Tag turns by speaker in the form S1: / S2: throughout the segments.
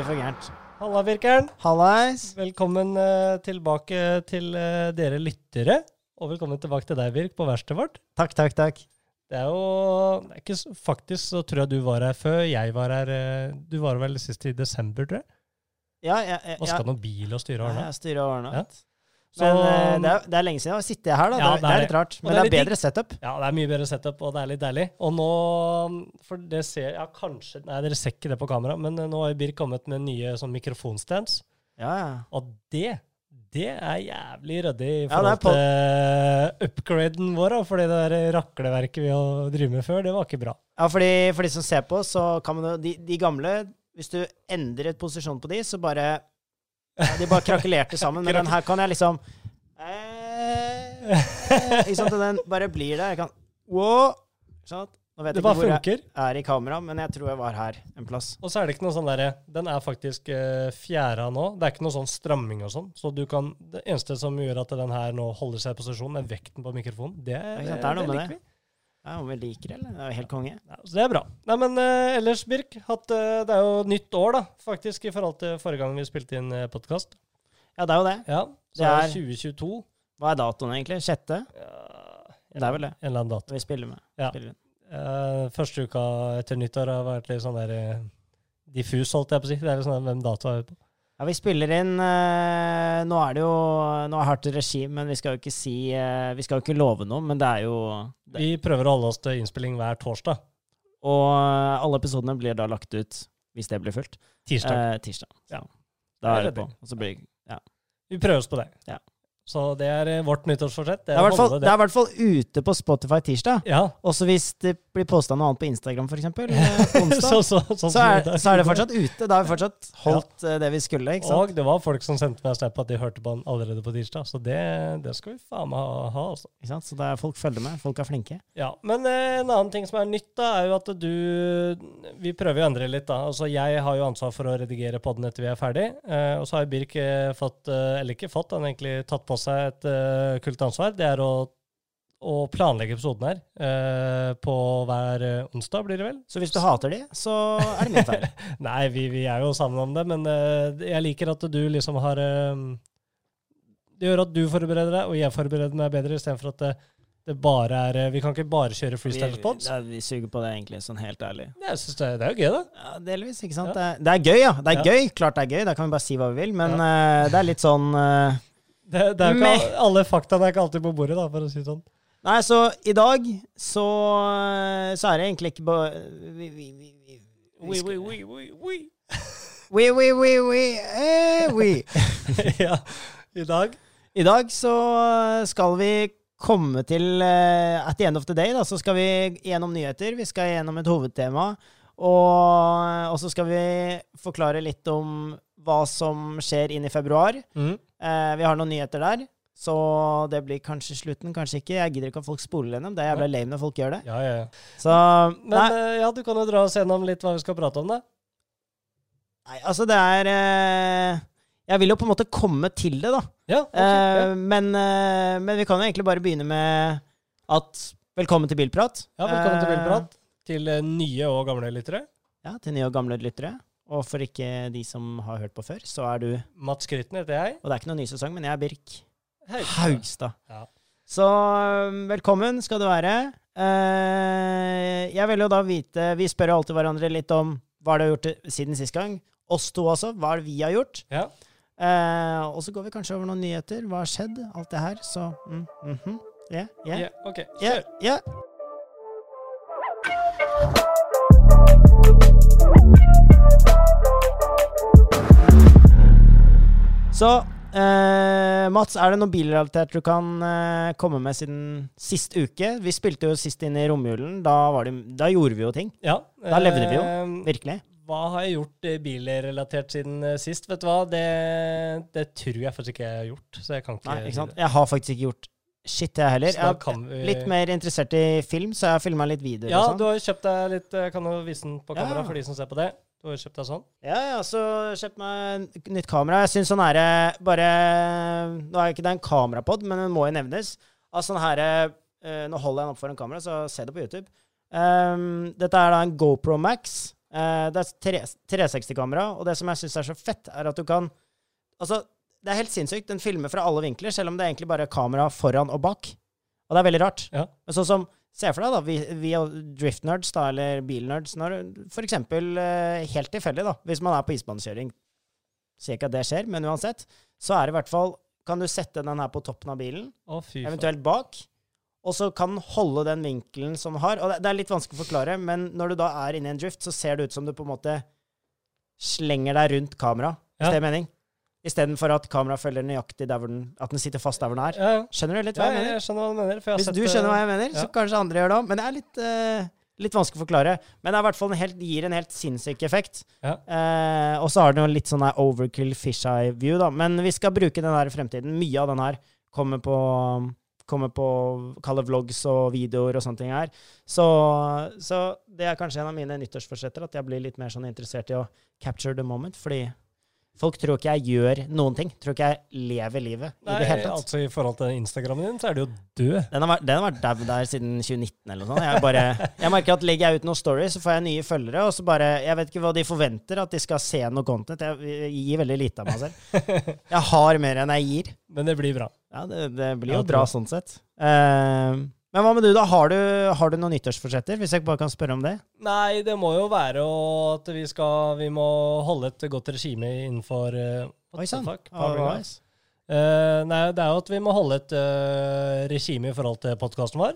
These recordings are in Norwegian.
S1: Halla, Birkeren.
S2: Hallais.
S1: Velkommen eh, tilbake til eh, dere lyttere. Og velkommen tilbake til deg, Birk, på verkstedet vårt.
S2: Takk, takk, takk.
S1: Det er jo det er ikke, så- Faktisk så tror jeg du var her før jeg var her. eh, Du var vel sist i desember, tror jeg.
S2: Ja, jeg, jeg,
S1: Vaska noen bil og styre og
S2: jeg,
S1: ordna.
S2: jeg styrer og ordner.
S1: Ja.
S2: Men eh,
S1: Så-
S2: det, er, det er lenge siden jeg har sittet her, da.
S1: Ja,
S2: det, er, det er litt rart. Men det er,
S1: litt
S2: bedre setup.
S1: Ja, det er mye bedre setup, og det er litt deilig. Og nå For det ser Ja, kanskje Nei, dere ser ikke det på kamera, men eh, nå har jo Birk kommet med nye sånn mikrofonstands,
S2: Ja, ja.
S1: og det det er jævlig ryddig i
S2: Ja, det
S1: forhold
S2: er
S1: til upgraden vår, da, fordi det der rakleverket vi har drevet med før, det var ikke bra.
S2: ja fordi, for de som ser på, så kan man jo de, de gamle Hvis du endrer et posisjon på de, så bare ja, De bare krakelerte sammen. Men den her kan jeg liksom eh, Ikke sant? Og Den bare blir der. Jeg kan Wow! Ikke sant? Nå vet
S1: Det
S2: jeg ikke
S1: bare
S2: hvor jeg
S1: funker.
S2: er i kamera, men jeg tror jeg var her en plass.
S1: Og så er det ikke noe sånn derre Den er faktisk eh, fjæra nå. Det er ikke noe sånn stramming og sånn. Så du kan Det eneste som gjør at den her nå holder seg i posisjon, er vekten på mikrofonen. Det,
S2: Ja, ikke sant? Det er noe med
S1: liker vi.
S2: det. Ja, Om vi liker det, eller? Det er jo helt konge.
S1: Ja, så det er bra. Nei, men eh, ellers, Birk, at, eh, det er jo nytt år, da, faktisk, i forhold til forrige gang vi spilte inn uh, podkast.
S2: Ja, det er jo det.
S1: Ja, så
S2: Det
S1: er det 2022.
S2: Hva er datoen, egentlig? Sjette? Det er vel det.
S1: En eller annen dato.
S2: Vi spiller med.
S1: Ja.
S2: Spiller inn.
S1: Eh, første uka etter nyttår har vært litt sånn der eh, diffus, holdt jeg på å si. Det er litt sånn der, hvem dato er vi på?
S2: Ja, vi spiller inn eh, Nå er det jo Nå er hardt regime, men vi skal jo ikke si eh, Vi skal jo ikke love noe, men det er jo det.
S1: Vi prøver å holde oss til innspilling hver torsdag.
S2: Og eh, alle episodene blir da lagt ut, hvis det blir fullt,
S1: Tirsdag.
S2: eh, tirsdag.
S1: Ja. Det
S2: Da
S1: er
S2: er det
S1: ryddig.
S2: på. Og så blir
S1: Vi prøver oss på det.
S2: Ja.
S1: Så det er eh, vårt nyttårsforsett.
S2: det er i hvert fall-
S1: holde
S2: det er i hvert fall ute på Spotify tirsdag.
S1: Ja.
S2: Også hvis det blir posta noe annet på Instagram, f.eks. Onsdag.
S1: så, så, sånn
S2: så er,
S1: som
S2: så er det fortsatt ute. Da har vi fortsatt holdt eh, det vi skulle. ikke sant?
S1: Og det var folk som sendte meg snap at de hørte på den allerede på tirsdag, så det, det skal vi faen meg ha, ha, altså.
S2: Ikke sant? Så det er, folk følger med. Folk er flinke.
S1: Ja, men eh, en annen ting som er nytt da, er jo at du, vi prøver jo å endre litt da, altså jeg har jo ansvar for å redigere podden etter vi er ferdig, eh, og så har jo Birk eh, fått, eh, eller ikke fått, han har egentlig tatt på seg et eh, kult ansvar, det er å, å planlegge episoden her, eh, på hver eh, onsdag blir det vel?
S2: Så hvis du hater de, så er det min feil.
S1: Nei, vi, vi er jo sammen om det, men eh, jeg liker at du liksom har eh, Det gjør at du forbereder deg, og jeg forbereder meg bedre, istedenfor at det, det bare er eh, Vi kan ikke bare kjøre freestyle spots.
S2: ja, vi suger på det, egentlig, sånn helt ærlig.
S1: Jeg synes det, det er jo gøy, da.
S2: Ja, delvis, ikke sant? Det, er, det er gøy, ja. Det er
S1: Ja.
S2: gøy. Klart det er gøy. Da kan vi bare si hva vi vil. Men eh, det er litt sånn eh,
S1: Det, det er jo ikke,
S2: Meh.
S1: alle faktaene er ikke alltid på bordet, da, for å si det sånn.
S2: Nei, så i dag så, eh, så er det egentlig ikke bare vi, vi, vi, vi, vi, skal- we, we, we, we, eh, we.
S1: ja, i dag.
S2: I dag så eh, skal vi komme til eh, At the end of the day, da, så skal vi gjennom nyheter. Vi skal gjennom et hovedtema. Og, og så skal vi forklare litt om hva som skjer inn i februar.
S1: Mm.
S2: Eh, vi har noen nyheter der. Så det blir kanskje slutten, kanskje ikke. Jeg gidder ikke at folk spoler gjennom. Det er jævla lame når folk gjør det.
S1: Ja, ja, ja.
S2: Så
S1: Men
S2: nei,
S1: eh, ja, du kan jo dra oss gjennom litt hva vi skal prate om, da.
S2: nei, altså det er eh, Jeg vil jo på en måte komme til det, da.
S1: Ja, ok, ja.
S2: Eh, men, eh, men vi kan jo egentlig bare begynne med at Velkommen til Bilprat.
S1: ja velkommen til
S2: Eh,
S1: Bilprat. Til eh, nye og gamle lyttere.
S2: ja, til nye og gamle lyttere. Og for ikke de som har hørt på før, så er du Og
S1: Mats Krytten heter jeg.
S2: det er ikke noen ny sesong, men jeg er Birk
S1: Haug.
S2: Haugstad.
S1: Ja.
S2: Så eh, velkommen skal du være. Eh, jeg vil jo da vite Vi spør jo alltid hverandre litt om hva det har gjort til- siden sist gang. Oss to også. Hva er det vi har gjort?
S1: Ja.
S2: Eh, og så går vi kanskje over noen nyheter. Hva har skjedd? Alt det her. Så mm, mhm. yeah, yeah.
S1: Ja, ok.
S2: Ja,
S1: Kjør.
S2: ja. Så eh, Mats, er det noe bilrelatert du kan eh, komme med siden sist uke? Vi spilte jo sist inn i romjulen. Da, var det, da gjorde vi jo ting.
S1: Ja.
S2: Da levde vi jo.
S1: Eh,
S2: Virkelig.
S1: Hva har jeg gjort eh, bilrelatert siden eh, sist? Vet du hva, det, det tror jeg faktisk ikke jeg har gjort. Så jeg kan ikke,
S2: Nei, ikke sant?
S1: si det.
S2: Jeg har faktisk ikke gjort shit, jeg heller.
S1: Så da
S2: Jeg er
S1: kan vi,
S2: litt mer interessert i film, så jeg har filma litt videoer
S1: Ja,
S2: og
S1: du
S2: sånn.
S1: har jo kjøpt deg litt Jeg kan jo vise den på
S2: Ja.
S1: kamera for de som ser på det. Du har jo kjøpt deg sånn.
S2: Ja, ja, så kjøpt meg en nytt kamera. Jeg syns sånn her eh, bare Nå er jo ikke det en kamerapod, men den må jo nevnes. Av sånn her eh, Nå holder jeg den opp foran kamera, så se det på YouTube. Ehm, dette er da en GoPro Max. Eh, Eh, det er 360-kamera, og det som jeg syns er så fett, er at du kan Altså, det er helt sinnssykt. Den filmer fra alle vinkler, selv om det egentlig bare er kamera foran og bak. Og det er veldig rart.
S1: Ja.
S2: Men sånn som Se for deg, da, vi, vi og driftnerds, da, eller bilnerds, når for eksempel eh, Helt tilfeldig, da, hvis man er på isbanekjøring. Sier ikke at det skjer, men uansett, så er det i hvert fall Kan du sette den her på toppen av bilen?
S1: Å, fy faen.
S2: eventuelt bak. Og så kan den holde den vinkelen som den har. Og det, det er litt vanskelig å forklare, men når du da er inne i en drift, så ser det ut som du på en måte slenger deg rundt kamera, hvis
S1: Ja.
S2: det er mening. Istedenfor at kameraet følger nøyaktig der hvor den At den sitter fast der hvor den er.
S1: Ja, ja.
S2: Skjønner du litt
S1: ja,
S2: hva jeg
S1: ja,
S2: mener?
S1: jeg skjønner hva du mener. For jeg har
S2: Hvis
S1: sett, eh,
S2: du skjønner hva jeg mener,
S1: ja.
S2: så kanskje andre gjør det òg. Men det er litt, eh, litt vanskelig å forklare. Men det er i hvert fall en helt, gir en helt sinnssyk effekt.
S1: Ja.
S2: Eh, og så har den jo litt sånn her overkill fisheye-view, da. Men vi skal bruke den her i fremtiden. Mye av den her kommer på Kommer på kalle vlogs og videoer og sånne ting her. Så, så det er kanskje en av mine nyttårsforsetter, at jeg blir litt mer sånn interessert i å capture the moment. Fordi folk tror ikke jeg gjør noen ting. Tror ikke jeg lever livet i
S1: Nei,
S2: det hele tatt.
S1: altså I forhold til Instagrammen din, så er det jo død.
S2: Den har vært, den har vært dau der siden 2019 eller noe sånt. Jeg, bare, jeg merker at legger jeg ut noen stories, så får jeg nye følgere, og så bare Jeg vet ikke hva de forventer, at de skal se noe content. Jeg, jeg gir veldig lite av meg selv. Jeg har mer enn jeg gir.
S1: Men det blir bra.
S2: Ja, det, det blir
S1: Ja,
S2: jo bra
S1: det-
S2: sånn sett. Eh, men hva med du, da? Har du, har du noen nyttårsforsetter, hvis jeg bare kan spørre om det?
S1: Nei, det må jo være å- at vi skal Vi må holde et godt regime innenfor eh, what
S2: Oi
S1: the
S2: sann.
S1: fuck,
S2: Ah,
S1: Power Guy.
S2: nice.
S1: Eh, nei, det er jo at vi må holde et eh, regime i forhold til podkasten vår.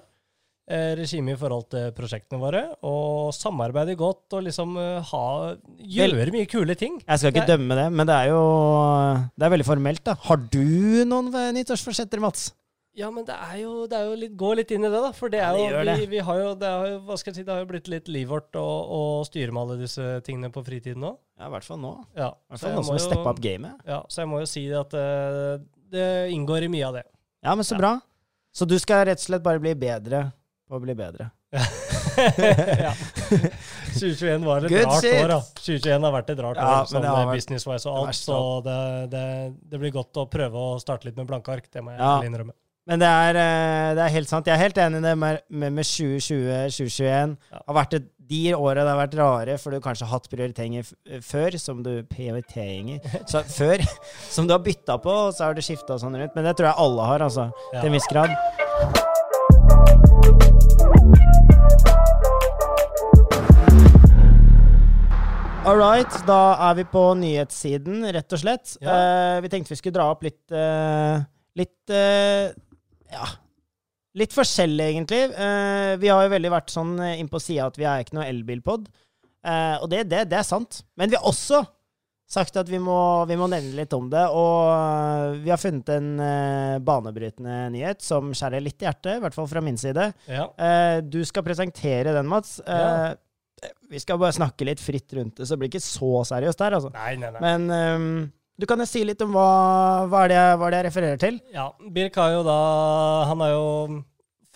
S1: eh, regime i forhold til prosjektene våre. Og samarbeide godt og liksom eh, ha Gjøre mye kule ting.
S2: Jeg skal ikke
S1: Nei.
S2: dømme det, men det er jo Det er veldig formelt, da. Har du noen eh, nyttårsforsetter, Mats?
S1: Ja, men det er jo, det er jo litt, Gå litt inn i det, da. For det
S2: Ja,
S1: er
S2: det
S1: jo,
S2: gjør
S1: vi, vi har jo, det har jo hva skal jeg si, det har jo blitt litt livet vårt å, å styre med alle disse tingene på fritiden òg.
S2: Ja, i hvert fall nå.
S1: Ja,
S2: I hvert
S1: så
S2: fall
S1: jeg
S2: noen som
S1: må
S2: vil
S1: jo-
S2: steppe opp gamet.
S1: ja, så jeg må jo si at eh, det inngår i mye av det.
S2: Ja, men så bra. Så du skal rett og slett bare bli bedre på å bli bedre.
S1: ja. 2021 var et
S2: Good
S1: rart
S2: shit.
S1: år, da. 2021 har vært et rart
S2: Ja, men
S1: år,
S2: det
S1: sånn
S2: har
S1: eh,
S2: vært-
S1: business-wise og
S2: har
S1: alt.
S2: vært
S1: Så det, det, det blir godt å prøve å starte litt med blanke ark, det må jeg
S2: Ja.
S1: ærlig innrømme.
S2: Men det er, eh, det er helt sant. Jeg er helt enig i det med, med, med 2020, 2021.
S1: Ja.
S2: Har vært et, de årene det har vært rare, for du kanskje har hatt prioriteringer f eh, før som du prioriteringer så, før, som du har bytta på, og så har du skifta sånn rundt. Men det tror jeg alle har, altså.
S1: Ja.
S2: Til en viss grad. All right, da er vi på nyhetssiden, rett og slett. Eh, vi tenkte vi skulle dra opp litt eh, Litt eh, Ja. Litt forskjellig, egentlig. Eh, vi har jo veldig vært sånn eh, inn på sida at vi er ikke noe elbilpod. Eh, og det, det, det er sant. Men vi har også sagt at vi må, vi må nevne litt om det. Og eh, vi har funnet en eh, banebrytende nyhet som skjærer litt i hjertet, i hvert fall fra min side.
S1: Ja.
S2: Eh, du skal presentere den, Mats. Eh,
S1: Ja.
S2: Vi skal bare snakke litt fritt rundt det, så det blir ikke så seriøst der, altså.
S1: Nei, nei, nei.
S2: Men ehm, du kan jo si litt om hva, hva, er det, jeg- hva er det jeg refererer til.
S1: Ja, Birk har jo da Han har jo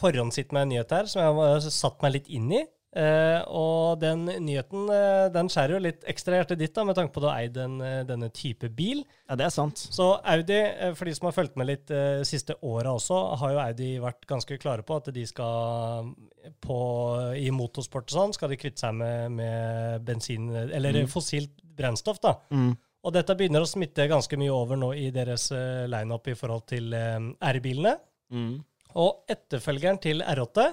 S1: forhåndssitt med en nyhet her som jeg har satt meg litt inn i. Eh, og den nyheten eh, den skjærer jo litt ekstra i hjertet ditt, da, med tanke på at du har eid den, eh, denne type bil.
S2: Ja, det er sant.
S1: Så Audi, eh, for de som har fulgt med litt eh, siste året også, har jo Audi vært ganske klare på at de skal eh, på, i motorsport og sånn, skal de kvitte seg med, med bensin, eller
S2: Mm.
S1: fossilt brennstoff, da.
S2: Mm.
S1: Og dette begynner å smitte ganske mye over nå i deres eh, lineup i forhold til eh, R-bilene. Mm. Og etterfølgeren til R8,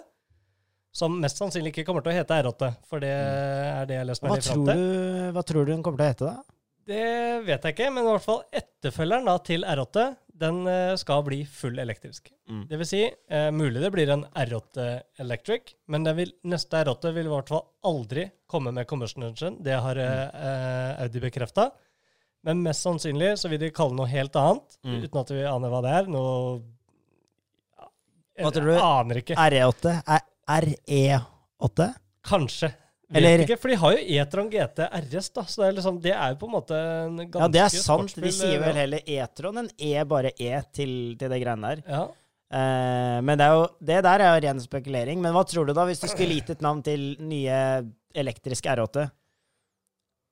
S1: som mest sannsynlig ikke kommer til å hete R8, for det er det jeg har lest
S2: Mm. Hva,
S1: meg litt fram
S2: tror
S1: til.
S2: du, hva tror du den kommer til å hete, da?
S1: Det vet jeg ikke, men i hvert fall etterfølgeren da til R8, den eh, skal bli full elektrisk.
S2: Mm.
S1: Det vil si, eh, mulig det blir en R8 Electric, men den vil, neste R8 vil i hvert fall aldri komme med combustion engine. Det har eh,
S2: Mm.
S1: eh, Audi bekrefta. Men mest sannsynlig så vil de kalle det noe helt annet,
S2: Mm.
S1: uten at vi aner hva det er. Noe
S2: Hva tror du?
S1: Jeg aner ikke.
S2: RE8? E Er- E RE8?
S1: Kanskje. Vet
S2: Eller-
S1: ikke, for de har jo E-tron GT RS, da, så det er, liksom, det er jo på en måte en ganske eh,
S2: Ja, det er sant. De
S1: sportsbil,
S2: sier
S1: ja.
S2: vel heller E-tron enn E, bare E til, til det greiene der.
S1: Ja.
S2: Eh, men det, er jo, det der er jo ren spekulering. Men hva tror du, da, hvis du skulle gitt et navn til nye elektriske R8?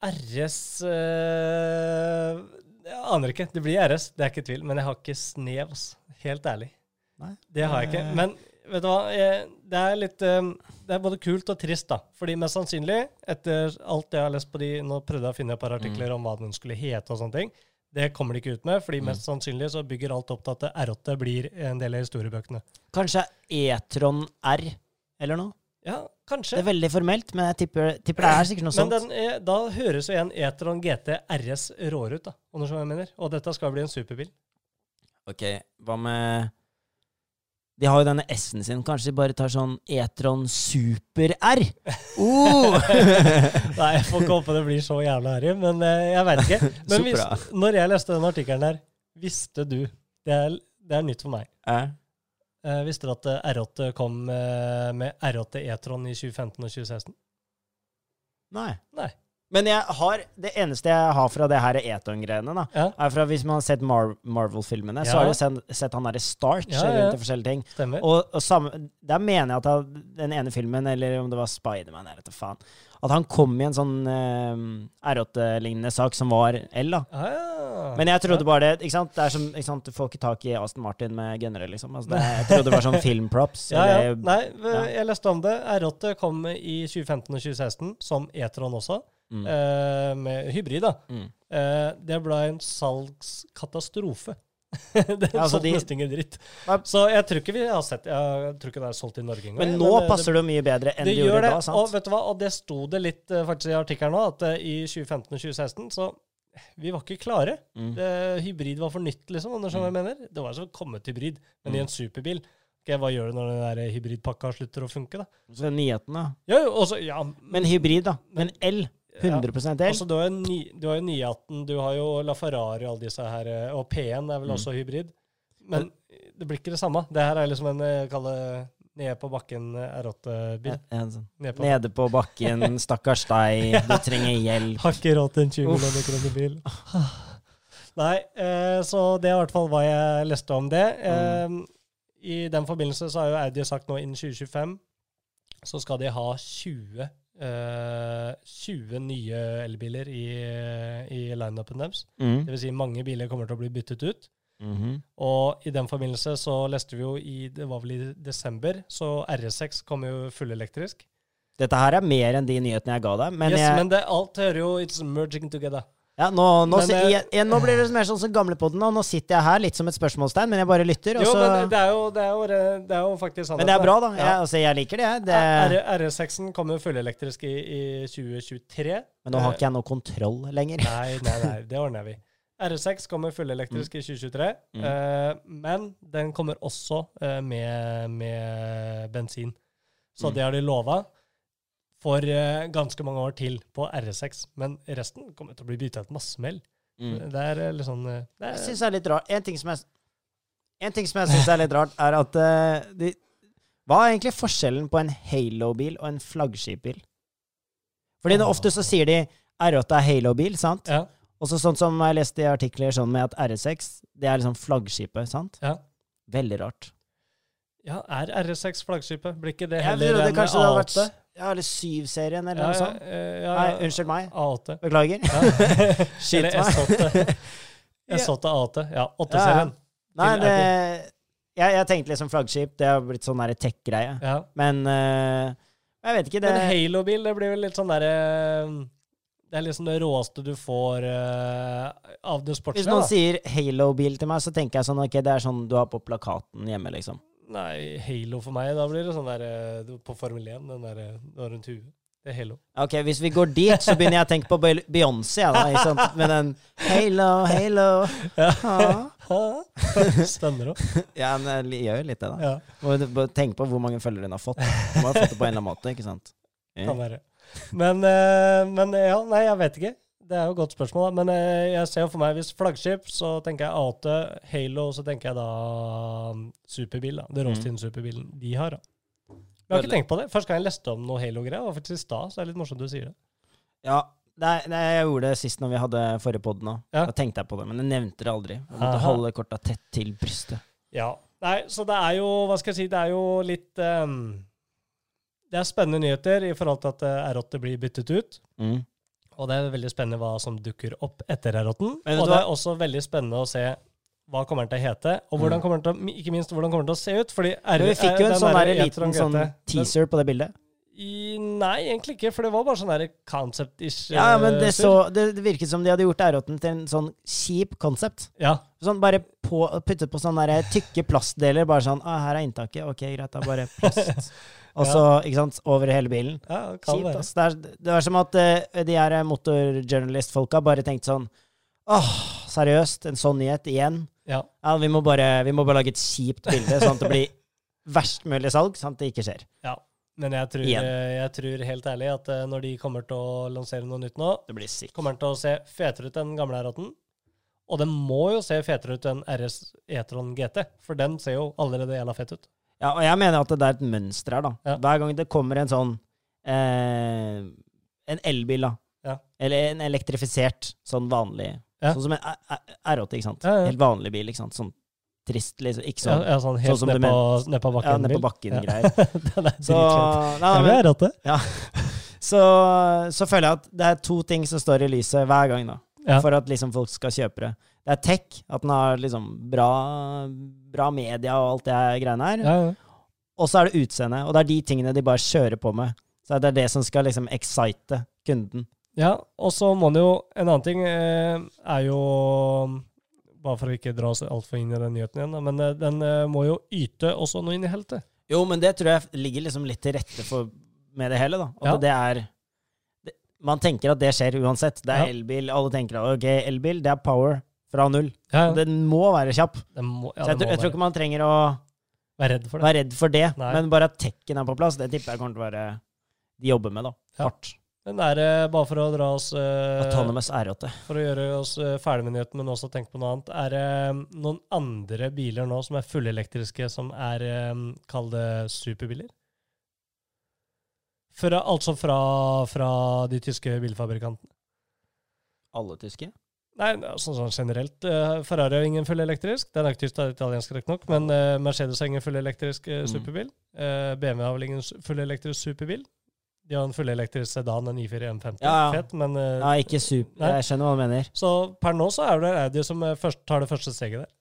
S1: RS eh, Jeg aner ikke. Det blir RS, det er ikke tvil. Men jeg har ikke snev, ass. Helt ærlig.
S2: Nei. Eh.
S1: Det har jeg ikke. Men Vet du hva, jeg, det er litt eh, Det er både kult og trist, da. Fordi mest sannsynlig, etter alt jeg har lest på de Nå prøvde jeg å finne et
S2: Mm.
S1: par artikler om hva den skulle hete og sånne ting. Det kommer de ikke ut med,
S2: Mm.
S1: fordi mest sannsynlig så bygger alt opp til at R8 blir en del av historiebøkene.
S2: Kanskje E-tron R eller noe?
S1: Ja,
S2: Det
S1: kanskje.
S2: er veldig formelt, men jeg tipper, tipper det er sikkert noe
S1: Men
S2: sånt.
S1: den er, da høres jo igjen E-tron GT RS råere ut, da. Om du skjønner hva jeg mener. Og dette skal bli en superbil.
S2: Ok, hva med De har jo denne S-en sin. Kanskje de bare tar sånn E-tron Super-R? Oh!
S1: Nei, jeg får ikke håpe det blir så jævla harry, men eh, jeg veit ikke. Men
S2: Så
S1: hvis,
S2: bra.
S1: når jeg leste den artikkelen der, visste du Det er, det er nytt for meg.
S2: Eh,
S1: Eh, visste du at eh, R8 kom eh, med R8 E-tron i 2015 og 2016?
S2: Nei.
S1: Nei.
S2: Men jeg har, det eneste jeg har fra det her E-tron-greiene, da,
S1: Ja,
S2: er fra hvis man har sett Mar Marvel-filmene,
S1: Ja.
S2: så har du sen, sett han derre Starch
S1: Ja, ja.
S2: rundt i forskjellige ting.
S1: stemmer.
S2: Og, og samme, der mener jeg at han, den ene filmen, eller om det var Spiderman, jeg vet da faen, at han kom i en sånn eh, R8-lignende sak som var L, da.
S1: Ah, ja.
S2: Men jeg trodde bare det ikke sant? Det er som, ikke sant? Du får ikke tak i Aston Martin med gønnere, liksom. Altså, det, jeg trodde det var sånn filmprops.
S1: ja, ja.
S2: eller-
S1: Nei, v- jeg leste om det. R8 kom i 2015 og 2016, som E-tron også,
S2: Mm.
S1: eh, med hybrid. da.
S2: Mm.
S1: Eh, det ble en salgskatastrofe. det
S2: Ja, altså,
S1: solgte
S2: de-
S1: nesten ingen dritt.
S2: Nei.
S1: Så jeg tror ikke vi har sett Jeg tror ikke det er solgt i Norge engang.
S2: Men nå passer det jo mye bedre enn
S1: eh, det
S2: det de gjorde
S1: gjør det,
S2: da,
S1: og
S2: sant?
S1: vet du hva, og det sto det litt eh, faktisk i artikkelen nå, at eh, i 2015 og 2016 så vi var ikke klare.
S2: Mm.
S1: Det, hybrid var for nytt, liksom. om du skjønner hva jeg mener. Det var som å komme til hybrid, men
S2: Mm.
S1: i en superbil. Ok, hva gjør du når den der hybridpakka slutter å funke, da?
S2: Så nyheten, da.
S1: Ja, jo, også, ja,
S2: Men hybrid, da. Men L. 100 L.
S1: Altså, du har jo ni- du har jo 918, du har jo La Ferrari og alle disse her, eh, og P1 er vel også hybrid. Men det blir ikke det samme. Det her er liksom en eh, kall det ned på bakken eh, R8-bil.
S2: En- en sånn.
S1: Ned på
S2: Nede på bakken, stakkars deg, du trenger hjelp.
S1: Har ikke råd til en 20
S2: Uff.
S1: millioner kroner bil. Nei, eh, så det er i hvert fall hva jeg leste om det. Eh, I den forbindelse så har jo Audi sagt nå innen 2025 så skal de ha 20, eh, 20 nye elbiler i, eh, i lineupen deres.
S2: Mm.
S1: Det vil si mange biler kommer til å bli byttet ut.
S2: Mhm.
S1: Og i den forbindelse så leste vi jo i det var vel i desember, så RS6 kom jo fullelektrisk.
S2: Dette her er mer enn de nyhetene jeg ga deg, men,
S1: yes,
S2: jeg,
S1: men det, alt hører jo It's merging together.
S2: ja, nå, nå,
S1: Men,
S2: si-
S1: eh,
S2: jeg, jeg, nå blir det mer sånn som gamlepodden, og nå sitter jeg her litt som et spørsmålstegn, men jeg bare lytter. Og
S1: Jo,
S2: så,
S1: men det er jo, det er jo, re- det er jo faktisk sannheten.
S2: men det er bra, da. Jeg,
S1: Ja.
S2: altså, jeg liker det, jeg. Det,
S1: R- RS6-en kommer fullelektrisk i, i 2023.
S2: men nå har ikke jeg noe kontroll lenger.
S1: Nei, nei, nei, det ordner vi. RS6 kommer fullelektrisk i 2023,
S2: Mm.
S1: eh, men den kommer også eh, med, med bensin. Så
S2: Mm.
S1: det har de lova for eh, ganske mange år til på RS6, men resten kommer til å bli bytta ut masse med el.
S2: Mm.
S1: Det er eh, litt sånn eh, det
S2: Jeg
S1: er,
S2: syns det er litt rart. En ting som jeg, en ting som jeg syns er litt rart, er at eh, de, Hva er egentlig forskjellen på en Halo-bil og en flaggskipbil? Fordi det, ofte så sier de R8 er Halo-bil, sant?
S1: ja,
S2: Og så sånn som jeg leste i artikler sånn med at R6, det er liksom flaggskipet, sant?
S1: Ja.
S2: Veldig rart.
S1: ja, er RS6 flaggskipet? Blir ikke det
S2: Jeg
S1: heller
S2: trodde
S1: en
S2: kanskje det hadde vært
S1: A8?
S2: Ja, eller 7-serien, eller
S1: Ja,
S2: noe
S1: ja,
S2: sånt.
S1: eh, ja,
S2: Nei,
S1: ja.
S2: unnskyld meg.
S1: A8.
S2: Beklager.
S1: Ja.
S2: Shit,
S1: Eller
S2: meg.
S1: S8.
S2: Ja.
S1: S8 A8. Ja, 8-serien.
S2: Nei,
S1: Til
S2: det jeg, jeg tenkte liksom flaggskip. Det har blitt sånn derre tech-greie.
S1: Ja.
S2: Men eh, jeg vet ikke. Det,
S1: Men Halo-bil, det blir vel litt sånn derre Det er liksom det råeste du får eh, av det
S2: hvis
S1: sportslige.
S2: noen
S1: da.
S2: sier Halo-bil til meg, så tenker jeg sånn Ok, det er sånn du har på plakaten hjemme, liksom.
S1: Nei, Halo for meg, da blir det sånn der eh, på Formel 1, den der eh, rundt huet. Det er Halo.
S2: Ok, hvis vi går dit, så begynner jeg å tenke på Be- Beyoncé, jeg, da, ikke sant? Med den Halo, Halo. Ah.
S1: Stemmer òg.
S2: Ja, men jeg gjør jo litt det, da.
S1: Ja,
S2: Må jo bare tenke på hvor mange følgere hun har fått. Hun må ha fått det på en eller annen måte, ikke sant?
S1: kan være. Men, eh, men ja, nei, jeg vet ikke. Det er jo et godt spørsmål, da. men eh, jeg ser jo for meg hvis flaggskip, så tenker jeg A8, Halo, så tenker jeg da mm, superbil, da. Det Rollstien-superbilen de har, da. Jeg har ikke
S2: Veldig.
S1: tenkt på det. Første gang jeg leste om noe Halo-greier, var faktisk i stad, så det er litt morsomt du sier det.
S2: Ja. Nei, nei, jeg gjorde det sist når vi hadde forrige pod nå.
S1: Ja.
S2: Da tenkte jeg på det, men jeg nevnte det aldri. Jeg måtte
S1: Aha.
S2: holde korta tett til brystet.
S1: Ja. Nei, så det er jo, hva skal jeg si, det er jo litt ehm, Det er spennende nyheter i forhold til at eh, R8 blir byttet ut.
S2: Mm.
S1: Og det er veldig spennende hva som dukker opp etter R8-en.
S2: Men vet
S1: Og
S2: du
S1: det
S2: hva?
S1: er også veldig spennende å se hva kommer den til å hete, og hvordan kommer den til, å- ikke minst hvordan kommer den til å se ut. Fordi
S2: Mm.
S1: eh,
S2: Men Vi fikk jo en sånn der, liten sånn
S1: tease.
S2: teaser på det bildet.
S1: Nei, egentlig ikke, for det var bare sånn der concept-ish.
S2: Ja,
S1: eh,
S2: men det,
S1: sur.
S2: så, det virket som de hadde gjort R8-en til en sånn kjip konsept.
S1: Ja,
S2: Sånn bare på, puttet på sånne der tykke plastdeler. Bare sånn ah, 'Her er inntaket. Ok, greit, det er bare plast.' Og så, ikke sant, over hele bilen.
S1: ja det kan
S2: Kjipt,
S1: være.
S2: ass. Det er, det er som at eh, de her motorjournalistfolka bare tenkte sånn Åh, seriøst, en sånn nyhet igjen?
S1: Ja.
S2: Ja, vi må bare, vi må bare lage et kjipt bilde, sånn at det blir verst mulig salg, sånn at det ikke skjer.
S1: ja. Men jeg tror, eh,
S2: Igjen.
S1: jeg tror helt ærlig at eh, når de kommer til å lansere noe nytt nå,
S2: Det blir sikkert.
S1: kommer den til å se fetere ut enn den gamle R8-en. Og den må jo se fetere ut enn RS E-tron GT, for den ser jo allerede jævla fett ut.
S2: Ja, og jeg mener at det er et mønster her, da.
S1: Ja.
S2: Hver gang det kommer en sånn eh, En elbil, da.
S1: Ja.
S2: Eller en elektrifisert, sånn vanlig
S1: Ja.
S2: Sånn som en R- R- R8, ikke sant.
S1: Ja, ja.
S2: Helt vanlig bil, ikke sant. Sånn trist, liksom. Ikke
S1: Sånn,
S2: sånn
S1: ja, sånn helt
S2: sånn som
S1: ned,
S2: du
S1: på, ned på bakken.
S2: ja, ned på bakken-greier.
S1: den er dritfett.
S2: Så, nei, nei,
S1: Ja,
S2: men-
S1: men jeg er rett det.
S2: så, så føler jeg at det er to ting som står i lyset hver gang, da.
S1: Ja.
S2: For at liksom folk skal kjøpe det. Det er tech, at den har liksom bra, bra media og alt det her greiene her.
S1: Ja, ja.
S2: Og så er det utseendet, og det er de tingene de bare kjører på med. Så det er det som skal liksom excite kunden.
S1: Ja, og så må det jo En annen ting eh, er jo Bare for å ikke dra oss altfor inn i den nyheten igjen, da, men eh, den eh, må jo yte også noe inn i heltet.
S2: Jo, men det tror jeg ligger liksom litt til rette for med det hele, da. At
S1: Ja.
S2: det er det, Man tenker at det skjer uansett. Det er
S1: Ja.
S2: elbil. Alle tenker at ok, elbil, det er power fra null.
S1: Ja, ja.
S2: Den må være kjapp.
S1: Den må, ja,
S2: så jeg,
S1: den må
S2: tror- jeg tror
S1: være,
S2: ikke man trenger å
S1: være redd for det.
S2: Vær redd for det,
S1: Nei.
S2: men bare at tekken er på plass, det tipper jeg kommer til å være de jobber med, da.
S1: Ja.
S2: Hardt.
S1: Men er det bare for å dra oss eh,
S2: Autonomous R8.
S1: For å gjøre oss eh, ferdig med nyheten, men også tenke på noe annet. Er det eh, noen andre biler nå som er fullelektriske, som er eh, Kall det superbiler? Fra, altså fra, fra de tyske bilfabrikantene.
S2: Alle tyske?
S1: Nei, sånn, sånn generelt. eh, Ferrari er ingen fullelektrisk. Den er ikke tysk, det er italiensk riktignok, men eh, Mercedes er ingen fullelektrisk eh,
S2: Mm.
S1: superbil. Eh, BMW har vel ingen su- fullelektrisk superbil. De har en fullelektrisk sedan, en I4 M50.
S2: Ja, ja.
S1: Fett, men eh,
S2: Ja, ikke super.
S1: Nei.
S2: Jeg skjønner hva du mener.
S1: Så per nå så er det Audi som eh, først, tar det første steget der.